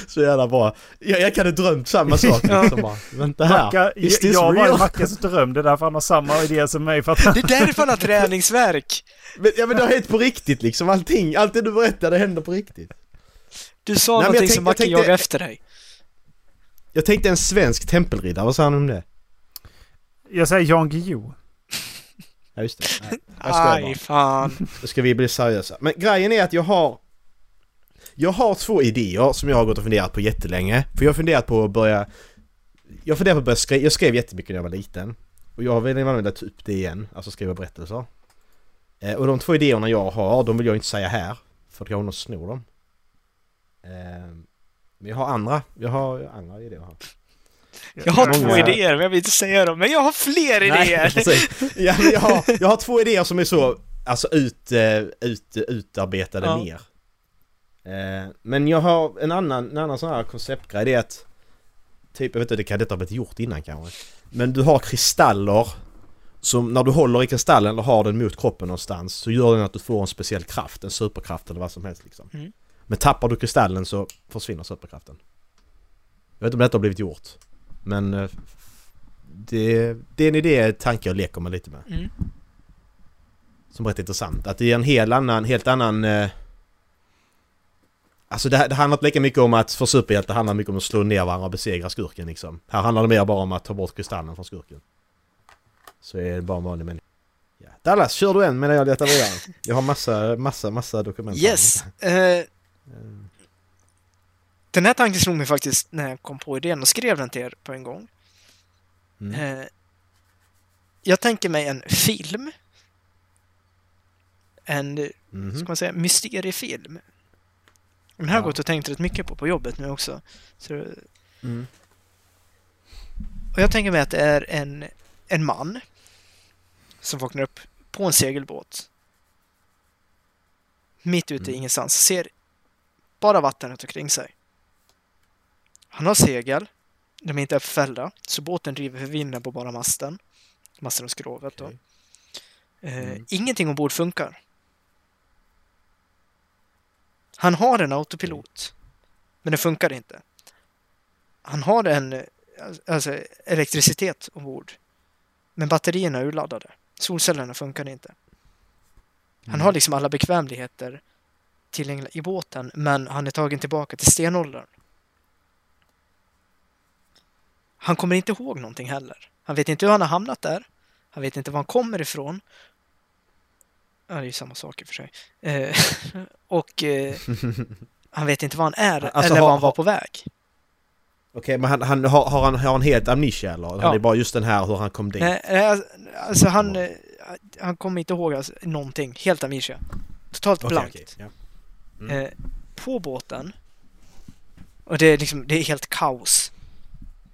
[SPEAKER 5] Så jävla bra. Jag, jag kan ha drömt samma sak liksom bara. Vänta här.
[SPEAKER 3] Macka,
[SPEAKER 5] Is this
[SPEAKER 3] jag var
[SPEAKER 5] real?
[SPEAKER 3] i Mackas dröm. Det är därför han har samma idé som mig. För att
[SPEAKER 4] Det är därför han har träningsverk.
[SPEAKER 5] Men, ja men det har hänt på riktigt liksom. Allting, allt det du berättar det händer på riktigt.
[SPEAKER 4] Du sa
[SPEAKER 5] Nej, men jag
[SPEAKER 4] någonting
[SPEAKER 5] tänkte-
[SPEAKER 4] som
[SPEAKER 5] jag
[SPEAKER 4] Macke
[SPEAKER 5] tänkte-
[SPEAKER 4] jagade efter dig.
[SPEAKER 5] Jag tänkte en svensk tempelriddare, vad sa han om det?
[SPEAKER 3] jag säger Jan Guillou.
[SPEAKER 5] Ja just det. Nej, jag skojar bara.
[SPEAKER 4] Aj, fan.
[SPEAKER 5] Då ska vi bli seriösa. Men grejen är att jag har... Jag har två idéer som jag har gått och funderat på jättelänge. För jag har funderat på att börja... Jag funderar på att börja skriva... Jag skrev jättemycket när jag var liten. Och jag vill gärna använda upp det igen, alltså skriva berättelser. Eh, och de två idéerna jag har, de vill jag inte säga här. För att jag har någon snor dem. Eh, men jag har andra. Jag har andra idéer här.
[SPEAKER 4] Jag har två
[SPEAKER 5] Många-
[SPEAKER 4] idéer, men jag vill inte säga dem. Men jag har fler idéer!
[SPEAKER 5] precis. ja, men jag, har, jag har två idéer som är så alltså, ut, eh, ut, utarbetade
[SPEAKER 4] Ja.
[SPEAKER 5] ner. Eh, Men jag har en annan, en annan sån här konceptgrej. Det är att... Typ, jag vet inte, det kan detta ha blivit gjort innan kanske. Men du har kristaller. Som när du håller i kristallen eller har den mot kroppen någonstans så gör den att du får en speciell kraft, en superkraft eller vad som helst liksom.
[SPEAKER 4] Mm.
[SPEAKER 5] Men tappar du kristallen så försvinner superkraften. Jag vet inte om detta har blivit gjort. Men eh, det, det är en idé, tanke jag leker med lite med.
[SPEAKER 4] Mm.
[SPEAKER 5] Som är rätt intressant. Att det är en helt annan, helt annan... eh, Alltså det, här- det handlar inte lika mycket om att för superhjältar handlar mycket om att slå ner varandra och besegra skurken liksom. Här handlar det mer bara om att ta bort kristallen från skurken. Så är det bara en vanlig människa. Ja. Dallas, kör du en medan jag letar vidare. Jag har massa, massa, massa dokument. här.
[SPEAKER 4] Yes. Eh, den här tanken slog mig faktiskt när jag kom på idén och skrev den till er på en gång.
[SPEAKER 5] Mm.
[SPEAKER 4] Eh, jag tänker mig en film. En,
[SPEAKER 5] Mhm.
[SPEAKER 4] ska man säga, mysteriefilm. Den här har jag
[SPEAKER 5] Ja.
[SPEAKER 4] gått och tänkt rätt mycket på på jobbet nu också. Så,
[SPEAKER 5] Mm.
[SPEAKER 4] och jag tänker mig att det är en, en man som vaknar upp på en segelbåt. Mitt ute i
[SPEAKER 5] Mm.
[SPEAKER 4] ingenstans. Ser bara vatten runt omkring sig. Han har segel. de inte är förfällda. Så båten driver för vinden på bara masten. Masten och skrovet då.
[SPEAKER 5] Okej.
[SPEAKER 4] Eh,
[SPEAKER 5] Mm.
[SPEAKER 4] Ingenting ombord funkar. Han har en autopilot. Men den funkar inte. Han har en eh, alltså, elektricitet ombord. Men batterierna är urladdade. Solcellerna funkar inte. Han har liksom alla bekvämligheter tillgängliga i båten men han är tagen tillbaka till stenåldern. Han kommer inte ihåg någonting heller. Han vet inte hur han har hamnat där. Han vet inte var han kommer ifrån. Ja, det är ju samma sak i och för sig. Eh, och eh, han vet inte var han är
[SPEAKER 5] Alltså,
[SPEAKER 4] eller
[SPEAKER 5] har-
[SPEAKER 4] var han var på väg.
[SPEAKER 5] Okej, men han, han, har, har, han, har han helt amnesia eller? Ja.
[SPEAKER 4] Ja. Eh,
[SPEAKER 5] Han är bara just den här hur han kom dit?
[SPEAKER 4] Nej, nej, alltså han, eh, han kommer inte ihåg alltså, någonting. Helt amnesia. Totalt
[SPEAKER 5] Okej,
[SPEAKER 4] blankt.
[SPEAKER 5] okej, ja. Mm.
[SPEAKER 4] eh, på båten. Och det är, liksom, det är helt kaos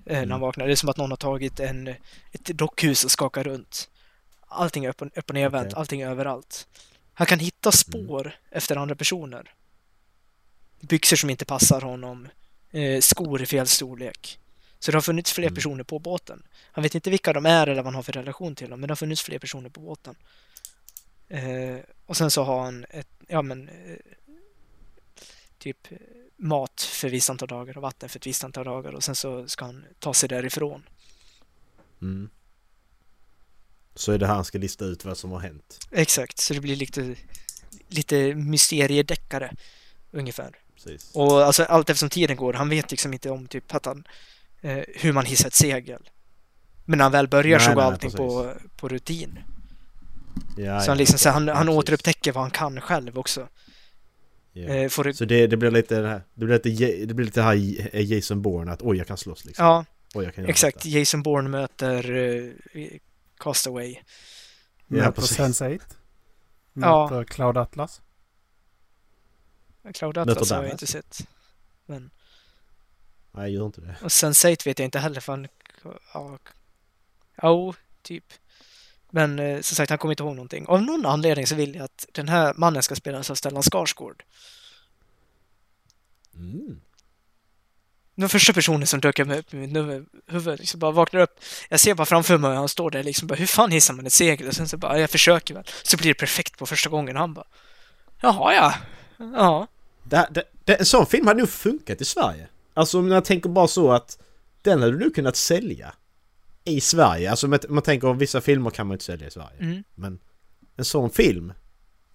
[SPEAKER 4] eh,
[SPEAKER 5] Mm.
[SPEAKER 4] när han vaknar. Det är som att någon har tagit en, ett dockhus och skakar runt. Allting är upp och, upp och nervänt,
[SPEAKER 5] Okej. Mm.
[SPEAKER 4] allting är överallt. Han kan hitta spår efter andra personer. Byxor som inte passar honom, eh, skor i fel storlek. Så det har funnits fler
[SPEAKER 5] Mm.
[SPEAKER 4] personer på båten. Han vet inte vilka de är eller vad han har för relation till dem, men det har funnits fler personer på båten. Eh, och sen så har han ett, ja men, eh, typ eh, mat för ett visst antal dagar och vatten för ett visst antal dagar och sen så ska han ta sig därifrån.
[SPEAKER 5] Mm. Så är det här han ska lista ut vad som har hänt.
[SPEAKER 4] Exakt, så det blir lite, lite mysteriedeckare ungefär.
[SPEAKER 5] Precis.
[SPEAKER 4] Och alltså allt eftersom tiden går, han vet liksom inte om typ att han, eh, hur man hissar ett segel. Men när han väl börjar så
[SPEAKER 5] Nej,
[SPEAKER 4] går
[SPEAKER 5] nej,
[SPEAKER 4] allting på, på rutin.
[SPEAKER 5] Ja,
[SPEAKER 4] så
[SPEAKER 5] ja,
[SPEAKER 4] han, liksom, så
[SPEAKER 5] okej.
[SPEAKER 4] han,
[SPEAKER 5] Ja,
[SPEAKER 4] han
[SPEAKER 5] precis.
[SPEAKER 4] återupptäcker vad han kan själv också.
[SPEAKER 5] Ja.
[SPEAKER 4] Eh, får det,
[SPEAKER 5] Så det, det blir lite det här, det blir lite, Ja- det blir lite här i- eh, Jason Bourne att oj jag kan slåss liksom.
[SPEAKER 4] ja,
[SPEAKER 5] Oj jag kan göra
[SPEAKER 4] exakt.
[SPEAKER 5] detta.
[SPEAKER 4] Jason Bourne möter eh, Castaway.
[SPEAKER 5] Ja,
[SPEAKER 3] Möter
[SPEAKER 5] precis.
[SPEAKER 3] Sense8.
[SPEAKER 4] Ja.
[SPEAKER 3] Möter Cloud Atlas.
[SPEAKER 4] Cloud
[SPEAKER 5] Möter
[SPEAKER 4] Atlas har jag
[SPEAKER 5] Dallas.
[SPEAKER 4] inte sett.
[SPEAKER 5] Nej gör inte det.
[SPEAKER 4] Och Sense8 vet jag inte heller för han... Ja, jo, typ. Men eh, som sagt, han kommer inte ihåg någonting. Av någon anledning så vill jag att den här mannen ska spelas av Stellan Skarsgård.
[SPEAKER 5] Mm.
[SPEAKER 4] Den första personen som dök upp i mitt huvud- huvud liksom bara vaknar upp. Jag ser bara framför mig hur han står där liksom bara, hur fan hissar man ett segel? Och sen så bara, jag försöker väl. Så blir det perfekt på första gången och han bara, jaha ja. Ja,
[SPEAKER 5] Det, det, det, en sån film hade nog funkat i Sverige. Alltså om jag tänker bara så att den hade du nog kunnat sälja i Sverige. Alltså om man- om man tänker om vissa filmer kan man ju inte sälja i Sverige.
[SPEAKER 4] mm,
[SPEAKER 5] Men en sån film,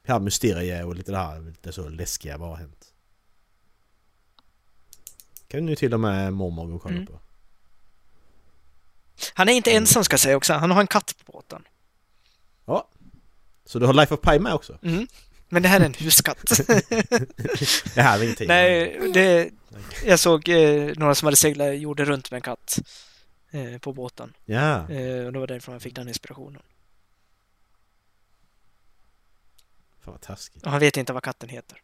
[SPEAKER 5] det här mysterie och lite det här lite så läskiga vad har hänt? Kan ju till och med mormor gå och kolla
[SPEAKER 4] Mm.
[SPEAKER 5] på.
[SPEAKER 4] Han är inte ensam ska jag säga också, han har en katt på båten.
[SPEAKER 5] Ja. Så du har Life of Pi med också?
[SPEAKER 4] Mm. Men det här är en huskatt.
[SPEAKER 5] Det här är ingenting.
[SPEAKER 4] Nej, det, jag såg eh, några som hade seglat jorden runt med en katt eh, på båten.
[SPEAKER 5] Ja.
[SPEAKER 4] Eh, och det var därifrån jag fick den inspirationen.
[SPEAKER 5] Fan vad taskigt.
[SPEAKER 4] Och han vet inte vad katten heter.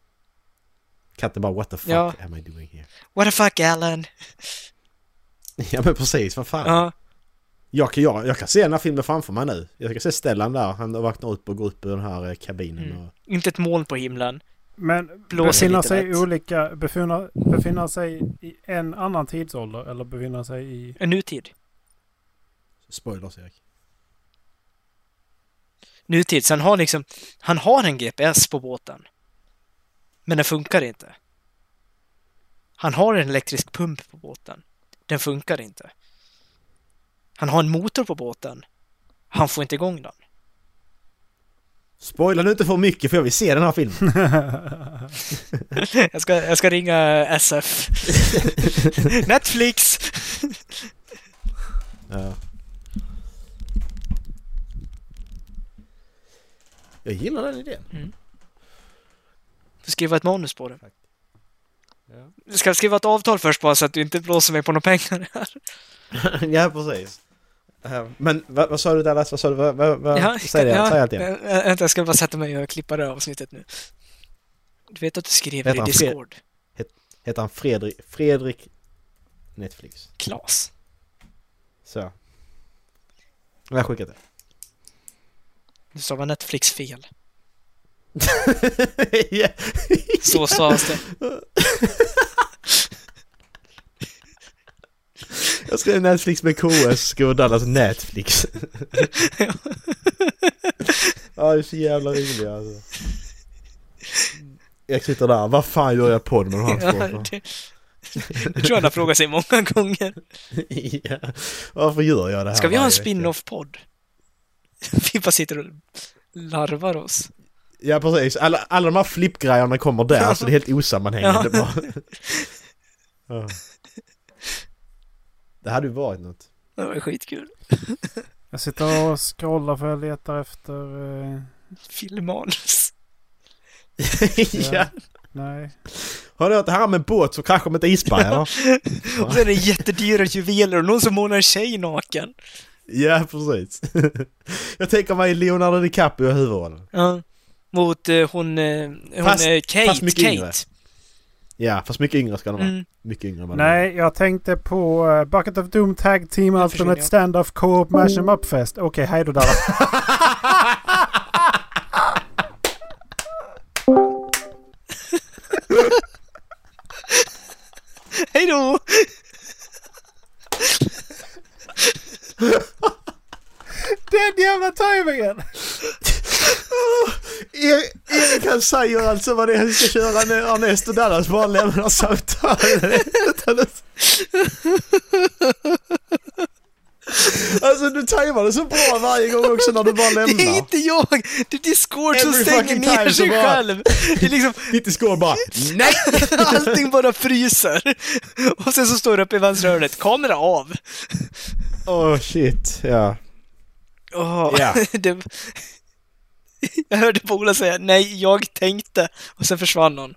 [SPEAKER 5] Katten bara what the fuck
[SPEAKER 4] Ja.
[SPEAKER 5] am I doing here?
[SPEAKER 4] What the fuck Alan!
[SPEAKER 5] Ja men precis, vad fan.
[SPEAKER 4] Ja,
[SPEAKER 5] Jag, kan, jag, jag kan se den här filmen framför mig nu. Jag kan se Stellan där, han vaknar upp och går upp ur den här eh, kabinen
[SPEAKER 4] Mm.
[SPEAKER 5] och...
[SPEAKER 4] inte ett moln på himlen.
[SPEAKER 3] Men
[SPEAKER 4] Blåser
[SPEAKER 3] befinner
[SPEAKER 4] lite
[SPEAKER 3] sig,
[SPEAKER 4] lätt.
[SPEAKER 3] i olika, befinner, befinner sig i en annan tidsålder eller befinner sig i...
[SPEAKER 4] En nutid.
[SPEAKER 5] Spoilers Erik.
[SPEAKER 4] Nutid. Så han har liksom, han har en GPS på båten. Men den funkar inte. Han har en elektrisk pump på båten. Den funkar inte. Han har en motor på båten. Han får inte igång den.
[SPEAKER 5] Spoila nu inte för mycket för jag vill se den här filmen.
[SPEAKER 4] Jag ska, jag ska ringa SF. Netflix!
[SPEAKER 5] ja. Jag gillar den idén.
[SPEAKER 4] Får skriva ett manus på det.
[SPEAKER 5] Tack. Ja.
[SPEAKER 4] Du ska skriva ett avtal först bara så att du inte blåser mig på några pengar här.
[SPEAKER 5] ja, precis. Eh, Men vad, vad sa du Dallas? Vad sa du? Vad, vad, vad? säg det,
[SPEAKER 4] ja,
[SPEAKER 5] säg allt igen.
[SPEAKER 4] vä- vä- Vänta, jag ska bara sätta mig och klippa det här avsnittet nu. Du vet att du skriver
[SPEAKER 5] Vänta,
[SPEAKER 4] i
[SPEAKER 5] han skrev-
[SPEAKER 4] Discord?
[SPEAKER 5] Heter han Fredrik? Fredrik Netflix.
[SPEAKER 4] Klas.
[SPEAKER 5] Så. Ja, Jag har skickat det.
[SPEAKER 4] Du sa var Netflix fel.
[SPEAKER 5] Ja.
[SPEAKER 4] Så stavas det.
[SPEAKER 5] Jag skrev Netflix med KS, skrev Dallas Netflix. ja, det är så jävla roligt alltså. Jag sitter där, vad fan gör jag podd med de här
[SPEAKER 4] Ja,
[SPEAKER 5] två?
[SPEAKER 4] det, det tror jag han har frågat sig många gånger.
[SPEAKER 5] ja. Varför gör jag det här
[SPEAKER 4] Ska vi ha en
[SPEAKER 5] varje vecka?
[SPEAKER 4] spin-off-podd? Vi bara sitter och larvar oss.
[SPEAKER 5] Ja precis, alla, alla de här flippgrejerna kommer där så det är helt osammanhängande bara. ja. Det hade ju varit något.
[SPEAKER 4] Det var skitkul.
[SPEAKER 3] Jag sitter och scrollar för jag letar efter... Eh,
[SPEAKER 4] Filmmanus.
[SPEAKER 5] ja.
[SPEAKER 3] nej.
[SPEAKER 5] Har du hört det här med båt som kraschar med ett isberg eller?
[SPEAKER 4] Och sen är det jättedyra juveler och någon som målar en tjej naken.
[SPEAKER 5] ja precis. jag tänker mig Leonardo DiCaprio i huvudrollen.
[SPEAKER 4] Ja. Mot eh, hon, eh, hon
[SPEAKER 5] Fast-
[SPEAKER 4] eh, Kate.
[SPEAKER 5] fast mycket
[SPEAKER 4] Kate.
[SPEAKER 5] yngre. Ja fast mycket yngre ska de vara.
[SPEAKER 4] Mm.
[SPEAKER 5] Mycket yngre. än vad de är.
[SPEAKER 3] Nej, jag tänkte på eh, Bucket of Doom Tag Team
[SPEAKER 4] försvinner
[SPEAKER 3] Ultimate
[SPEAKER 4] jag.
[SPEAKER 3] Stand-Off Co-op Mash Em Up Fest. Okej, hej då där.
[SPEAKER 4] Hej då!
[SPEAKER 3] Den jävla tajmingen!
[SPEAKER 5] Er- E-, Erik han säger alltså vad det är han ska köra nu Arnest och Dallas bara lämnar samtalet. Alltså du tajmar det så bra varje gång också när du bara
[SPEAKER 4] Det är
[SPEAKER 5] lämnar.
[SPEAKER 4] inte jag! Det är Discord som
[SPEAKER 5] Every
[SPEAKER 4] stänger
[SPEAKER 5] fucking time
[SPEAKER 4] ner sig
[SPEAKER 5] så bara-
[SPEAKER 4] själv. Det är liksom,
[SPEAKER 5] Ditt skål bara.
[SPEAKER 4] nej! Allting bara fryser. Och sen så står det uppe i vänstra hörnet, kamera av.
[SPEAKER 5] Oh shit, ja.
[SPEAKER 4] Åh,
[SPEAKER 5] Ja.
[SPEAKER 4] det, jag hörde Bola säga, nej, jag tänkte. Och sen försvann hon.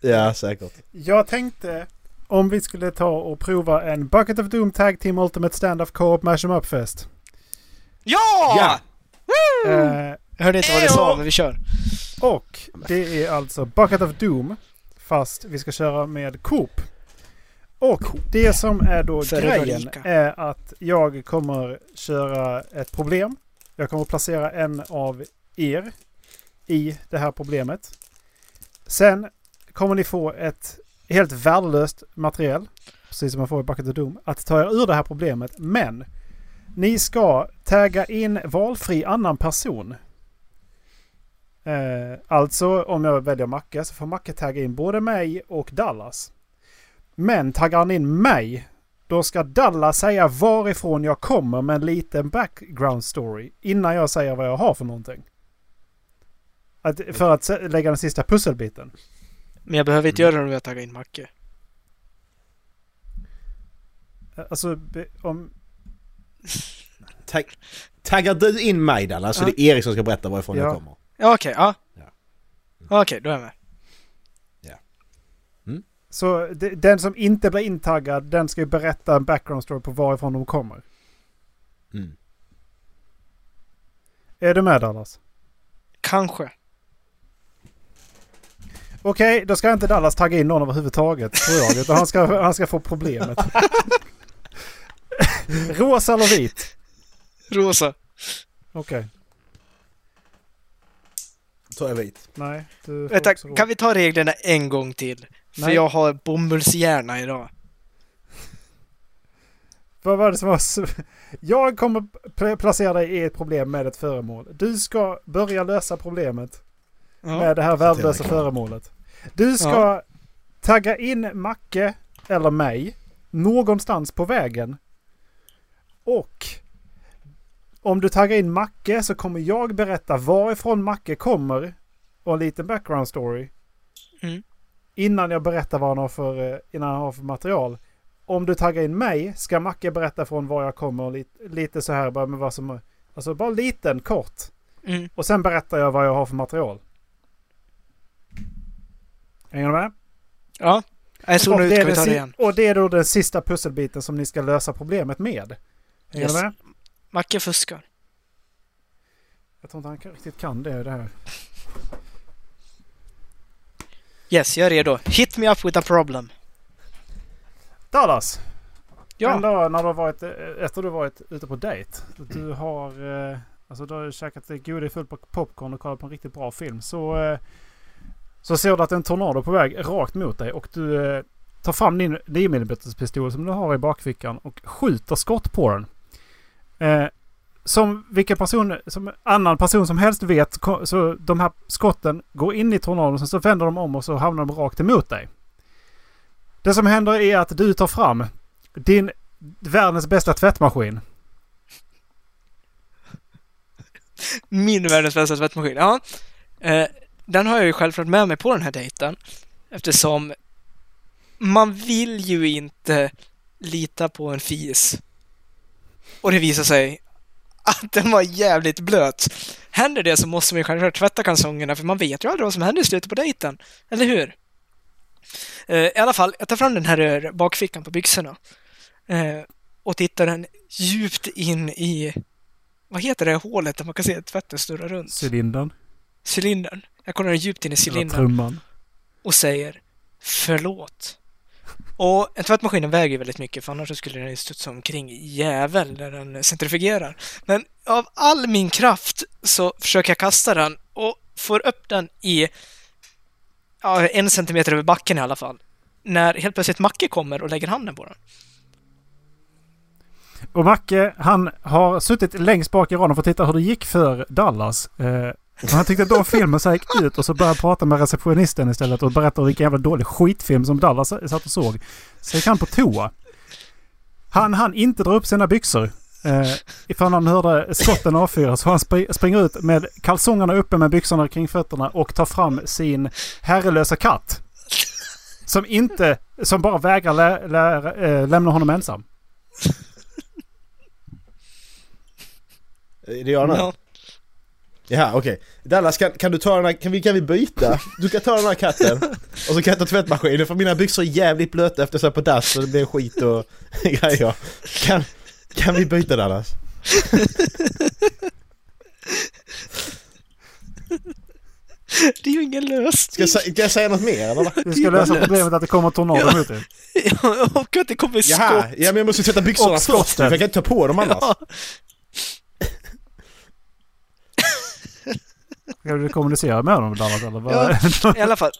[SPEAKER 5] Ja, säkert.
[SPEAKER 3] Jag tänkte om vi skulle ta och prova en Bucket of Doom Tag Team Ultimate Stand-Off Co-op Mash Em Up Fest.
[SPEAKER 4] Ja!
[SPEAKER 5] Ja.
[SPEAKER 3] Eh,
[SPEAKER 4] Jag hörde inte vad det sa, men vi kör.
[SPEAKER 3] och det är alltså Bucket of Doom fast vi ska köra med Coop. Och det som är då
[SPEAKER 4] Föredrar
[SPEAKER 3] grejen
[SPEAKER 4] Ica.
[SPEAKER 3] är att jag kommer köra ett problem. Jag kommer placera en av er i det här problemet. Sen kommer ni få ett helt värdelöst material, precis som man får i Bucket of Doom, att ta er ur det här problemet. Men ni ska tagga in valfri annan person. Eh, alltså om jag väljer Macke så får Macke tagga in både mig och Dallas. Men taggar han in mig då ska Dallas säga varifrån jag kommer med en liten background story innan jag säger vad jag har för någonting. Att, för att se- lägga den sista pusselbiten.
[SPEAKER 4] Men jag behöver inte göra det om jag taggar in Macke.
[SPEAKER 3] Eh, Alltså be- om...
[SPEAKER 5] Tag- taggar du in mig Dallas så det är Erik som ska berätta varifrån
[SPEAKER 3] Ja.
[SPEAKER 5] jag kommer.
[SPEAKER 4] Ja, okej, ja.
[SPEAKER 3] Mm.
[SPEAKER 5] Ja.
[SPEAKER 4] Okej, då är jag med.
[SPEAKER 3] Så de- den som inte blir intaggad den ska ju berätta en background story på varifrån de kommer.
[SPEAKER 5] Mm.
[SPEAKER 3] Är du med Dallas?
[SPEAKER 4] Kanske.
[SPEAKER 3] Okej, då ska inte Dallas tagga in någon överhuvudtaget tror jag. Utan han ska, han ska få problemet. Rosa eller vit?
[SPEAKER 4] Rosa.
[SPEAKER 3] Okej.
[SPEAKER 5] Då tar jag vit.
[SPEAKER 3] Nej. Du får
[SPEAKER 4] Vänta,
[SPEAKER 3] också ro-
[SPEAKER 4] kan vi ta reglerna en gång till? För
[SPEAKER 3] Nej.
[SPEAKER 4] jag har bomullshjärna idag.
[SPEAKER 3] Vad var det som var... s- Jag kommer pl- placera dig i ett problem med ett föremål. Du ska börja lösa problemet
[SPEAKER 4] Ja.
[SPEAKER 3] med det här värdelösa föremålet. Du ska
[SPEAKER 4] Ja.
[SPEAKER 3] tagga in Macke eller mig någonstans på vägen. Och om du taggar in Macke så kommer jag berätta varifrån Macke kommer och en liten background story.
[SPEAKER 4] Mm.
[SPEAKER 3] Innan jag berättar vad han har för, eh, innan han har för material. Om du taggar in mig ska Macke berätta från var jag kommer och lite, lite så här bara med vad som... Alltså bara liten kort.
[SPEAKER 4] Mm.
[SPEAKER 3] Och sen berättar jag vad jag har för material. Hänger du med?
[SPEAKER 4] Ja. Nej, så
[SPEAKER 3] Och
[SPEAKER 4] nu
[SPEAKER 3] det, är
[SPEAKER 4] ska vi
[SPEAKER 3] den
[SPEAKER 4] ta
[SPEAKER 3] si-
[SPEAKER 4] det igen.
[SPEAKER 3] och det är då den sista pusselbiten som ni ska lösa problemet med. Hänger
[SPEAKER 4] Yes.
[SPEAKER 3] du med?
[SPEAKER 4] Macke fuskar.
[SPEAKER 3] Jag tror inte han kan- riktigt kan det, det här.
[SPEAKER 4] Yes, jag är redo. Hit me up with a problem.
[SPEAKER 3] Dallas!
[SPEAKER 4] Ja.
[SPEAKER 3] En dag när du har varit, eh, efter du har varit ute på dejt. Du har, eh, alltså du har ju käkat eh, godis fullt på popcorn och kollat på en riktigt bra film. Så, eh, så ser du att en tornado är på väg rakt mot dig och du eh, tar fram din 9 mm pistol som du har i bakfickan och skjuter skott på den. Eh, som vilken person, som annan person som helst vet, ko- så de här skotten går in i tornadon, sen så vänder de om och så hamnar de rakt emot dig. Det som händer är att du tar fram din världens bästa tvättmaskin.
[SPEAKER 4] Min världens bästa tvättmaskin. Ja. Eh, den har jag ju självklart med mig på den här dejten. Eftersom man vill ju inte lita på en fis. Och det visar sig att den var jävligt blöt. Händer det så måste man ju självklart tvätta kalsongerna för man vet ju aldrig vad som händer i slutet på dejten. Eller hur? Eh, I alla fall, jag tar fram den här eh, bakfickan på byxorna. Eh, och tittar den djupt in i vad heter det hålet där man kan se tvätten snurra runt?
[SPEAKER 3] Cylindern.
[SPEAKER 4] Cylindern. Jag kollar djupt in i
[SPEAKER 3] Eller
[SPEAKER 4] cylindern
[SPEAKER 3] trumman.
[SPEAKER 4] och säger förlåt. Och en tvättmaskin väger ju väldigt mycket för annars så skulle den ju studsa omkring i jävel när den centrifugerar. Men av all min kraft så försöker jag kasta den och får upp den i ja, en centimeter över backen i alla fall. När helt plötsligt Macke kommer och lägger handen på den.
[SPEAKER 3] Och Macke, han har suttit längst bak i raden för att titta hur det gick för Dallas. Eh, och han tyckte att de filmen så här gick ut och så började han prata med receptionisten istället och berätta vilken jävla dålig skitfilm som Dallas satt och såg. Så gick han på toa. Han hann inte dra upp sina byxor. Eh, ifall han hörde skotten avfyras. Så han spri- springer ut med kalsongerna uppe med byxorna kring fötterna och tar fram sin herrelösa katt. Som inte, som bara vägrar lä- lä- eh, lämna honom ensam.
[SPEAKER 5] Är det jag nu?
[SPEAKER 4] Ja.
[SPEAKER 5] Jaha okej. Dallas kan, kan du ta den här, kan vi, kan vi byta? Du kan ta den här katten och så kan jag ta tvättmaskinen för mina byxor är jävligt blöta efter så här på dass och det blir skit och grejer. Kan, kan vi byta Dallas?
[SPEAKER 4] Det är ju ingen
[SPEAKER 5] Ska
[SPEAKER 4] lösning.
[SPEAKER 5] jag, sä- ska jag säga något mer eller?
[SPEAKER 3] Vi ska lösa problemet att det kommer tornadon mot dig.
[SPEAKER 4] Ja, och att det kommer skott.
[SPEAKER 5] Jaha, ja men jag måste tvätta byxorna
[SPEAKER 3] Och
[SPEAKER 5] först för
[SPEAKER 3] skotten.
[SPEAKER 5] jag kan inte ta på dem annars.
[SPEAKER 4] Ja.
[SPEAKER 3] Ska du kommunicera med honom Dallas eller? Vad?
[SPEAKER 4] Ja, i alla fall.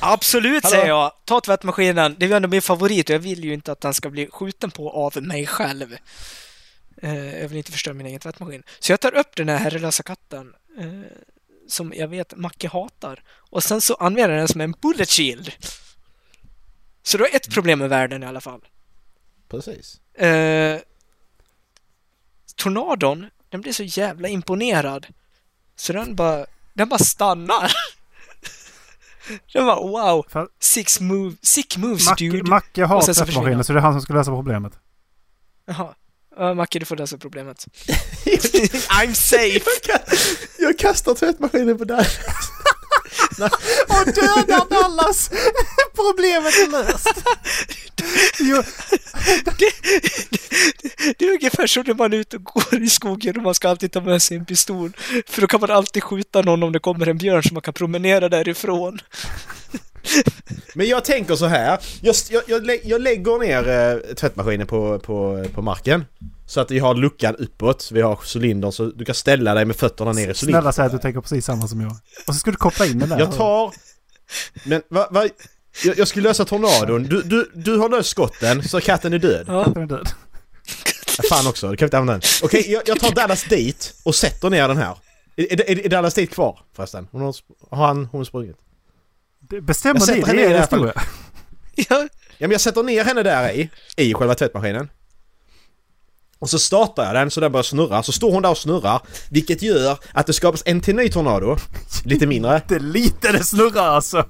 [SPEAKER 4] Absolut
[SPEAKER 5] Hallå?
[SPEAKER 4] säger jag. Ta tvättmaskinen. Det är ju ändå min favorit och jag vill ju inte att den ska bli skjuten på av mig själv. Eh, jag vill inte förstöra min egen tvättmaskin. Så jag tar upp den här herrelösa katten eh, som jag vet Macke hatar. Och sen så använder jag den som en bullet shield. Så du har ett problem med världen i alla fall.
[SPEAKER 5] Precis.
[SPEAKER 4] Eh, tornadon, den blir så jävla imponerad. Så den bara, den bara stannar. den bara wow,
[SPEAKER 3] För-
[SPEAKER 4] six move, sick moves
[SPEAKER 3] Macke,
[SPEAKER 4] dude.
[SPEAKER 3] Macke har
[SPEAKER 4] Och sen så försvinner
[SPEAKER 3] tvättmaskinen så det är han som ska lösa problemet.
[SPEAKER 4] Jaha. Ja, Macke, du får lösa problemet. I'm safe!
[SPEAKER 5] Jag kastar tvättmaskinen på Dallas.
[SPEAKER 3] Och dödar Dallas! problemet är löst! Jo,
[SPEAKER 4] Det är ungefär som när man är ute och går i skogen och man ska alltid ta med sig en pistol. För då kan man alltid skjuta någon om det kommer en björn så man kan promenera därifrån.
[SPEAKER 5] Men jag tänker så här. Jag, jag, jag, lä- jag lägger ner eh, tvättmaskinen på, på, på marken. Så att vi har luckan uppåt, vi har cylindern så du kan ställa dig med fötterna ner i cylindern.
[SPEAKER 3] snälla säg att du tänker precis samma som jag. Och så ska du koppla in den där.
[SPEAKER 5] Jag tar... Men vad... Va, jag, jag ska lösa tornadon. Du, du, du har löst skotten så katten är död.
[SPEAKER 4] Ja.
[SPEAKER 3] Den är död.
[SPEAKER 5] Ja, Fan också, du kan inte använda den. Okej, jag, jag tar Dallas dit och sätter ner den här. Är, är, är- är Dallas dit kvar förresten? Hon har, sp- har han, hon sprungit?
[SPEAKER 3] Det
[SPEAKER 5] Jag
[SPEAKER 3] Bestämmer ni,
[SPEAKER 5] sätter henne
[SPEAKER 3] det
[SPEAKER 5] i
[SPEAKER 3] är
[SPEAKER 5] det
[SPEAKER 3] er
[SPEAKER 5] här
[SPEAKER 3] historia.
[SPEAKER 4] Ja,
[SPEAKER 5] Ja men jag sätter ner henne där i, i själva tvättmaskinen. Och så startar jag den så den börjar snurra, så står hon där och snurrar. Vilket gör att det skapas en till ny tornado. Lite mindre.
[SPEAKER 3] Det är lite det snurrar alltså.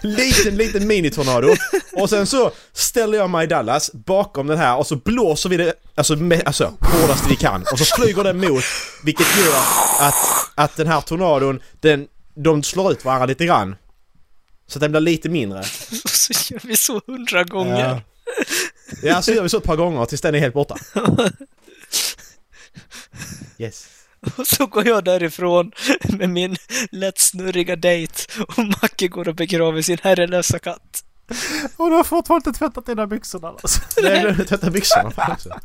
[SPEAKER 5] liten, liten minitornado. Och sen så ställer jag mig i Dallas bakom den här och så blåser vi det, alltså, med, alltså hårdast vi kan. Och så flyger den mot, vilket gör att, att den här tornadon, den, de slår ut varandra lite grann. Så att den blir lite mindre.
[SPEAKER 4] och så gör vi så hundra gånger.
[SPEAKER 5] Ja. ja, så gör vi så ett par gånger tills den är helt borta. Yes.
[SPEAKER 4] Och så går jag därifrån med min lätt snurriga dejt och Macke går och begraver sin herrelösa katt.
[SPEAKER 3] Och du har fortfarande inte tvättat dina byxor Dallas.
[SPEAKER 5] Nej, jag glömde tvätta byxorna fan också.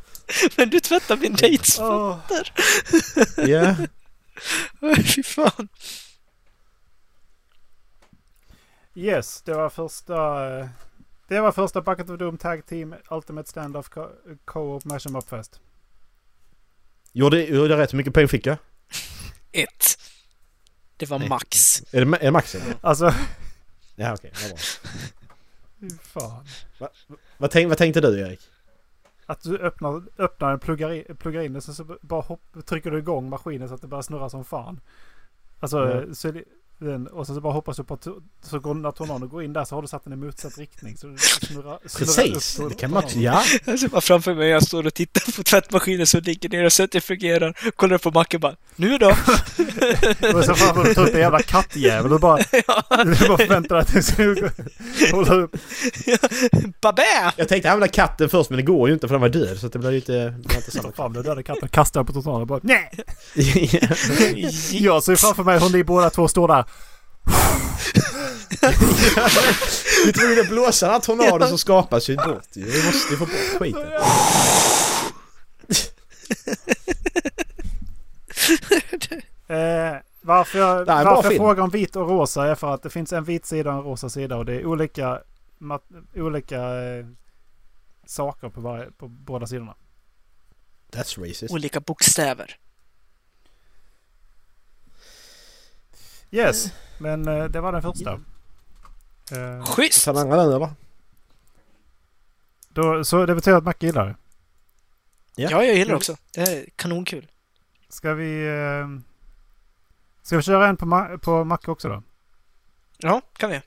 [SPEAKER 4] Men du tvättar min dejts
[SPEAKER 3] Åh.
[SPEAKER 4] fötter!
[SPEAKER 5] Ja.
[SPEAKER 4] Fy fan.
[SPEAKER 3] Yes, det var första... eh, Det var första Bucket of Doom Tag Team Ultimate Standoff Co- Co-op Mash Em Up Fest.
[SPEAKER 5] Gjorde, gjorde jag rätt? Hur mycket poäng fick jag?
[SPEAKER 4] Ett. Det var
[SPEAKER 5] Nej.
[SPEAKER 4] max.
[SPEAKER 5] Är det, ma- är det maxen?
[SPEAKER 3] Alltså,
[SPEAKER 5] Ja, okej. vad bra.
[SPEAKER 3] fy
[SPEAKER 5] Mm.
[SPEAKER 3] fan.
[SPEAKER 5] Vad, tänk, vad tänkte du, Erik?
[SPEAKER 3] Att du öppnar, öppnar den, pluggar in, pluggar in den, sen så bara hopp, trycker du igång maskinen så att det börjar snurra som fan. Alltså,
[SPEAKER 5] Ja.
[SPEAKER 3] så är det, den, och sen så bara hoppas du på att to- så går, när tornadon går in där så har du satt den i motsatt riktning. Så du snurrar,
[SPEAKER 5] Precis!
[SPEAKER 3] snurrar upp
[SPEAKER 5] Det kan man...
[SPEAKER 3] tornadon.
[SPEAKER 5] Ja!
[SPEAKER 4] Jag ser Alltså, bara framför mig, jag står och tittar på tvättmaskinen som ligger ner och ser att det fungerar. Kollar upp på macken bara, nu då?
[SPEAKER 3] Och sen framför dig tar upp en jävla kattjävel och bara, du bara förväntar dig att den ska gå- hålla upp.
[SPEAKER 4] Babä!
[SPEAKER 5] Jag tänkte använda katten först men det går ju inte för den var död så att det blir ju inte... Det blir inte
[SPEAKER 3] Ta
[SPEAKER 5] samma
[SPEAKER 3] fram den döda katten och kastar den på tornadon och bara nej!
[SPEAKER 5] Ja.
[SPEAKER 3] Jag ser framför mig hur ni båda två står där.
[SPEAKER 5] Vi är tvungna att blåsa den här tornadon som skapas ju bort ju. Vi måste ju få bort skiten.
[SPEAKER 3] Eh, varför jag,
[SPEAKER 5] bra
[SPEAKER 3] varför jag
[SPEAKER 5] film.
[SPEAKER 3] frågar om vit och rosa är för att det finns en vit sida och en rosa sida och det är olika, mat- olika eh, saker på, varje, på båda sidorna.
[SPEAKER 5] That's racist.
[SPEAKER 4] Olika bokstäver.
[SPEAKER 3] Yes, men eh, det var den första. Eh,
[SPEAKER 4] Schysst!
[SPEAKER 5] Ta den andra den eller?
[SPEAKER 3] då, så det betyder att Mac gillar det.
[SPEAKER 5] Ja.
[SPEAKER 4] Ja, jag gillar också. Det här är kanonkul.
[SPEAKER 3] Ska vi... Eh, ska vi köra en på, Ma- på Mac också då?
[SPEAKER 4] Ja, kan vi.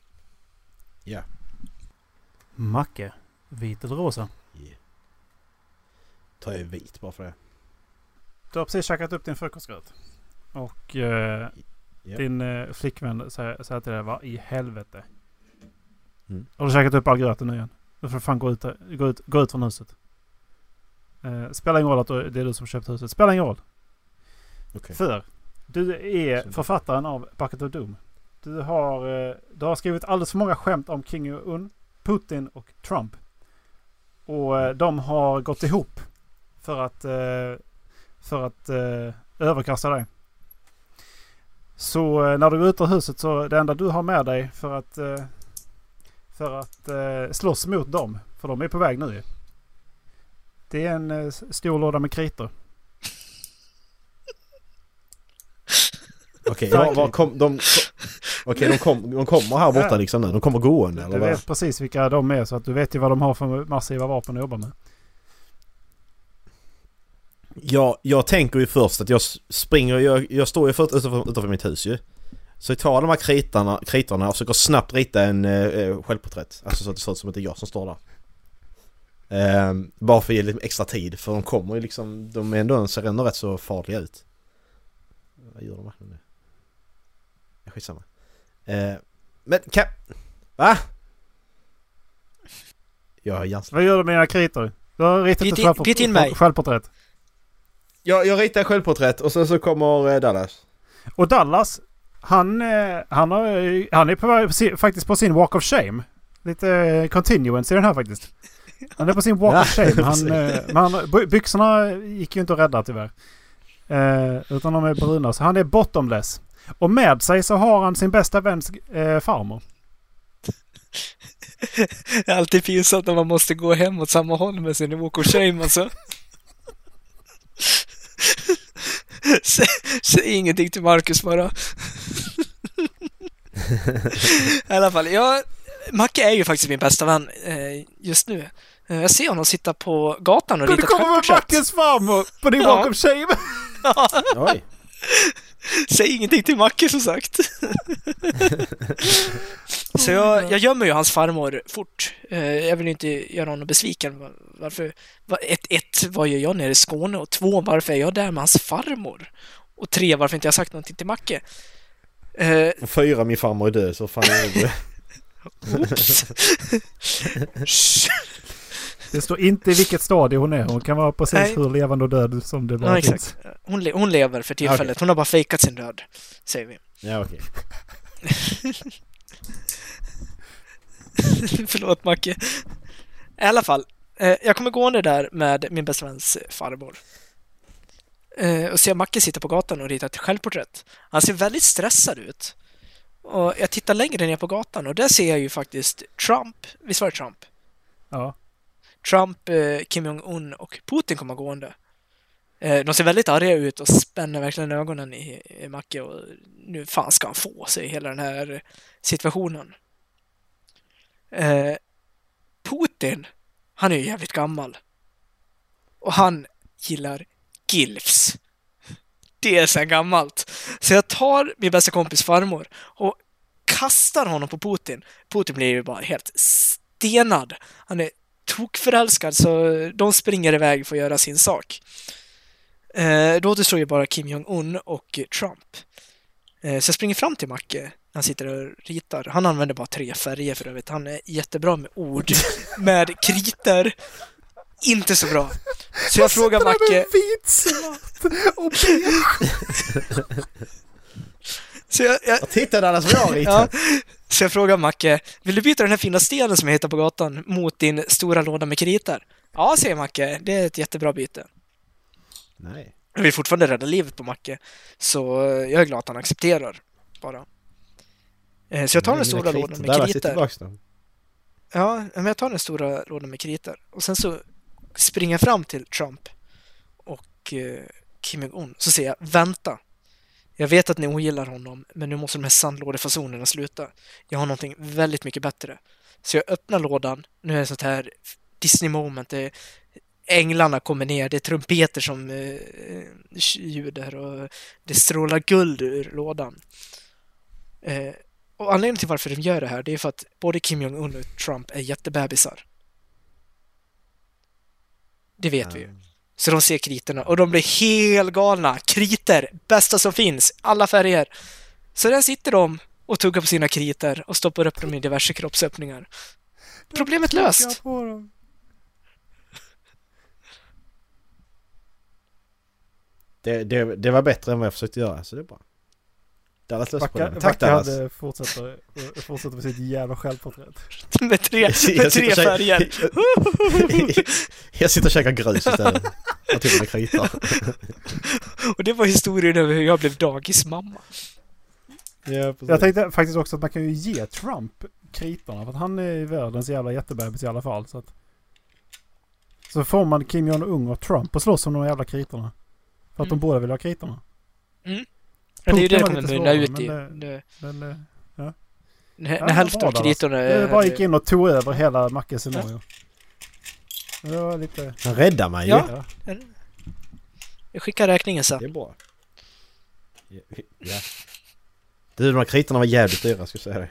[SPEAKER 3] Macke, vit eller rosa?
[SPEAKER 5] Tar jag vit bara för det.
[SPEAKER 3] Du har precis käkat upp din frukostgröt. Och eh,
[SPEAKER 5] Ja.
[SPEAKER 3] din eh, flickvän säger, säger till dig vad i helvete.
[SPEAKER 5] Mm.
[SPEAKER 3] Har du käkat upp all gröten nu igen? Då får du fan gå ut, där- gå ut, gå ut från huset. Eh, spelar ingen roll att du- det är du som köpt huset. Spelar ingen roll.
[SPEAKER 5] Okej.
[SPEAKER 3] För du är
[SPEAKER 5] Så-
[SPEAKER 3] författaren av Bucket of Doom. Du har, eh, du har skrivit alldeles för många skämt om Kim Jong-Un, Putin och Trump. Och eh, de har gått ihop för att, eh, för att eh, överkasta dig. Så eh, när du går ut ur huset så det enda du har med dig för att, eh, för att eh, slåss mot dem, för de är på väg nu ju. Det är en eh, s- stor låda med kritor.
[SPEAKER 5] Okej, var, var kom, de... Okej, de, kom, de kommer här borta liksom nu. De kommer gående
[SPEAKER 3] Du
[SPEAKER 5] eller vad?
[SPEAKER 3] vet precis vilka de är så att du vet ju vad de har för massiva vapen att jobba med.
[SPEAKER 5] Jag, jag tänker ju först att jag s- springer, jag, jag står ju först utanför, utanför mitt hus ju. Så jag tar de här kritarna, kritorna och försöker snabbt rita en eh, eh, självporträtt. Alltså så att det ser ut som att det är jag som står där. Ehm, bara för att ge lite extra tid, för de kommer ju liksom, de är ändå, ser ändå rätt så farliga ut. Vad gör de här nu? Ja, Skitsamma. Uh, men kan... Va? Jag har hjärnsläpp.
[SPEAKER 3] Vad gör du med dina kritor? Du har ritat
[SPEAKER 4] Bjud
[SPEAKER 3] ett
[SPEAKER 4] in-
[SPEAKER 3] självport-
[SPEAKER 4] bjud in mig.
[SPEAKER 3] självporträtt.
[SPEAKER 5] Jag, jag ritar självporträtt och sen så kommer eh, Dallas.
[SPEAKER 3] Och Dallas, han, eh, han, har, eh, han är på, väg- på sin- faktiskt på sin walk of shame. Lite eh, continuance i den här faktiskt. Han är på sin walk of shame. Han, eh, men han, by- byxorna gick ju inte att rädda tyvärr. Eh, utan de är bruna. Så han är bottomless. Och med sig så har han sin bästa väns eh, farmor.
[SPEAKER 4] Det är alltid pinsamt när man måste gå hem åt samma håll med sin walk of shame alltså. Säg, säg ingenting till Marcus bara. I alla fall, jag, Macke är ju faktiskt min bästa vän eh, just nu. Eh, jag ser honom sitta på gatan och
[SPEAKER 3] Du
[SPEAKER 4] rita
[SPEAKER 3] kommer med
[SPEAKER 4] självporträtt.
[SPEAKER 3] Mackes farmor på din
[SPEAKER 4] Ja.
[SPEAKER 3] walk of shame.
[SPEAKER 5] Oj!
[SPEAKER 4] Säg ingenting till Macke som sagt. Så jag, jag gömmer ju hans farmor fort. Eh, Jag vill ju inte göra honom besviken. Va- Varför? va- Ett, ett, vad gör jag nere i Skåne? Och två, varför är jag där med hans farmor? Och tre, varför inte jag sagt någonting till Macke? Eh,
[SPEAKER 5] Och fyra, min farmor är död så fan är det
[SPEAKER 4] oops. Shh.
[SPEAKER 3] Det står inte i vilket stadie hon är. Hon kan vara precis
[SPEAKER 4] Nej.
[SPEAKER 3] hur levande och död som det bara
[SPEAKER 4] ja,
[SPEAKER 3] finns.
[SPEAKER 4] exakt. Hon, le- hon lever för tillfället. Hon har bara fejkat sin död, säger vi.
[SPEAKER 5] Ja okej.
[SPEAKER 4] Förlåt Macke. I alla fall, eh, jag kommer gående där med min bästa väns farbror. Eh, och ser Macke sitta på gatan och rita ett självporträtt. Han ser väldigt stressad ut. Och jag tittar längre ner på gatan och där ser jag ju faktiskt Trump, visst var det Trump?
[SPEAKER 3] Ja.
[SPEAKER 4] Trump, eh, Kim Jong-Un och Putin kommer gående. Eh, de ser väldigt arga ut och spänner verkligen ögonen i, i Macke och nu fan ska han få sig hela den här situationen. Eh, Putin, han är ju jävligt gammal. Och han gillar GILFs. Det är sen gammalt. Så jag tar min bästa kompis farmor och kastar honom på Putin. Putin blir ju bara helt stenad. Han är tokförälskad så de springer iväg för att göra sin sak. Eh, då återstår ju bara Kim Jong-Un och Trump. Eh, så jag springer fram till Macke när han sitter och ritar. Han använder bara tre färger för övrigt. Han är jättebra med ord, med kriter. Inte så bra. Så jag frågar Macke...
[SPEAKER 5] vit salat och ben.
[SPEAKER 4] Så jag, jag,
[SPEAKER 5] Jag tittade annars vad jag
[SPEAKER 4] Ja.
[SPEAKER 5] ritade.
[SPEAKER 4] Så jag frågar Macke, vill du byta den här fina stenen som jag hittar på gatan mot din stora låda med kritar? Ja, säger Macke, det är ett jättebra byte.
[SPEAKER 5] Nej.
[SPEAKER 4] Jag vill fortfarande rädda livet på Macke, så eh, jag är glad att han accepterar. Bara. Eh, Så jag tar den
[SPEAKER 5] Mm,
[SPEAKER 4] stora lådan med kritar. Ja, men jag tar den stora lådan med kritor. Och sen så springer jag fram till Trump och eh, Kim Jong-Un. Så säger jag vänta. Jag vet att ni ogillar honom, men nu måste de här sandlådefasonerna sluta. Jag har någonting väldigt mycket bättre. Så jag öppnar lådan. Nu är det sånt här Disney moment. Det är eh, änglarna kommer ner, det är trumpeter som eh, ljuder och det strålar guld ur lådan. Eh, och anledningen till varför de gör det här, det är för att både Kim Jong-Un och Trump är jättebebisar. Det vet vi ju. Så de ser kriterna och de blir helgalna. Kriter, bästa som finns, alla färger. Så där sitter de och tuggar på sina kriter och stoppar upp dem i diverse kroppsöppningar. Problemet löst!
[SPEAKER 3] på dem.
[SPEAKER 5] Det, det, det var bättre än vad jag försökte göra, så det är bra. Dallas löste
[SPEAKER 3] Backa,
[SPEAKER 5] problemet. Tack
[SPEAKER 3] Backa
[SPEAKER 5] Dallas.
[SPEAKER 3] hade fortsätter, eh, fortsätter med sitt jävla självporträtt.
[SPEAKER 4] Med tre,
[SPEAKER 5] Jag sitter
[SPEAKER 4] med
[SPEAKER 5] och
[SPEAKER 4] tre
[SPEAKER 5] käkar-
[SPEAKER 4] färger.
[SPEAKER 5] Jag sitter och käkar grus istället. Och tittar på kritor.
[SPEAKER 4] Och det var historien över hur jag blev dagismamma.
[SPEAKER 5] Ja,
[SPEAKER 3] Jag tänkte faktiskt också att man kan ju ge Trump kritorna för att han är ju världens jävla jättebebis i alla fall. Så, att... så får man Kim Jong-Un och Trump och slåss om de jävla kritorna. För att
[SPEAKER 4] Mm.
[SPEAKER 3] de båda vill ha kritorna.
[SPEAKER 4] Ja, det är ju det det
[SPEAKER 3] Putin
[SPEAKER 4] kommer
[SPEAKER 3] var lite
[SPEAKER 4] mynna
[SPEAKER 3] svårare,
[SPEAKER 4] ut i.
[SPEAKER 3] men
[SPEAKER 4] Det-
[SPEAKER 3] Men eh,
[SPEAKER 4] När,
[SPEAKER 3] Ja,
[SPEAKER 4] när
[SPEAKER 3] det
[SPEAKER 4] hälften
[SPEAKER 3] var
[SPEAKER 4] av
[SPEAKER 3] där,
[SPEAKER 4] kritorna... eh,
[SPEAKER 3] det
[SPEAKER 4] är-
[SPEAKER 3] bara gick in och tog över hela Mackes scenario. Det var lite...
[SPEAKER 5] Han räddar mig
[SPEAKER 4] Ja.
[SPEAKER 5] ja.
[SPEAKER 3] Ja.
[SPEAKER 4] Jag eh, skickar räkningen sen.
[SPEAKER 5] Det är bra. Ja. Du, de här kritorna var jävligt dyra ska jag säga dig.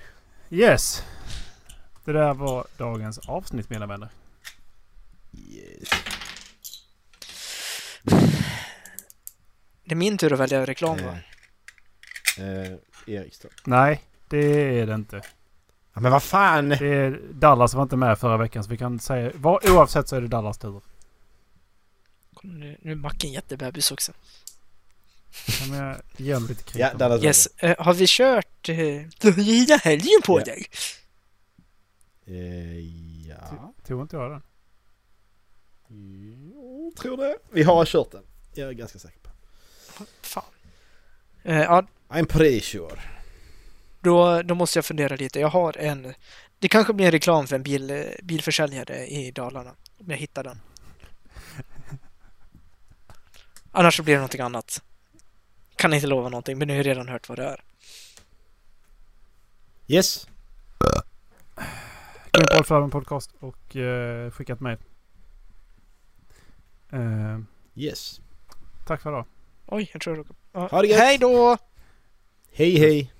[SPEAKER 3] Yes! Det där var dagens avsnitt mina vänner.
[SPEAKER 4] Det är min tur att välja reklam va?
[SPEAKER 5] Eh, Erik då.
[SPEAKER 3] Nej, det är det inte.
[SPEAKER 5] Ja, men vad fan!
[SPEAKER 3] Det är Dallas var inte med förra veckan så vi kan säga... Var, oavsett så är det Dallas tur.
[SPEAKER 4] Kom Nu, nu är macken jättebebis också.
[SPEAKER 3] Ja, men jag ger mig lite kritor.
[SPEAKER 5] Ja, Dallas
[SPEAKER 4] Yes, eh, har vi kört eh, den nya helgen på
[SPEAKER 5] Ja.
[SPEAKER 4] dig?
[SPEAKER 5] Eh, ja.
[SPEAKER 3] Tog inte jag den?
[SPEAKER 5] Jo, tror det. Vi har kört den. Jag är ganska säker på.
[SPEAKER 4] Fan. Eh, ja,
[SPEAKER 5] I'm pretty sure.
[SPEAKER 4] då, då måste jag fundera lite. Jag har en... Det kanske blir en reklam för en bil, eh, bilförsäljare i Dalarna. Om jag hittar den. Annars så blir det någonting annat. Kan inte lova någonting, men ni har ju redan hört vad det är.
[SPEAKER 5] Yes.
[SPEAKER 3] Grimpoddflabben podcast och eh, skickat mejl. Eh,
[SPEAKER 5] Yes.
[SPEAKER 3] tack för idag.
[SPEAKER 4] Oj, jag tror jag råkade...
[SPEAKER 5] Ha det gött.
[SPEAKER 4] Hej då!
[SPEAKER 5] Hej hej.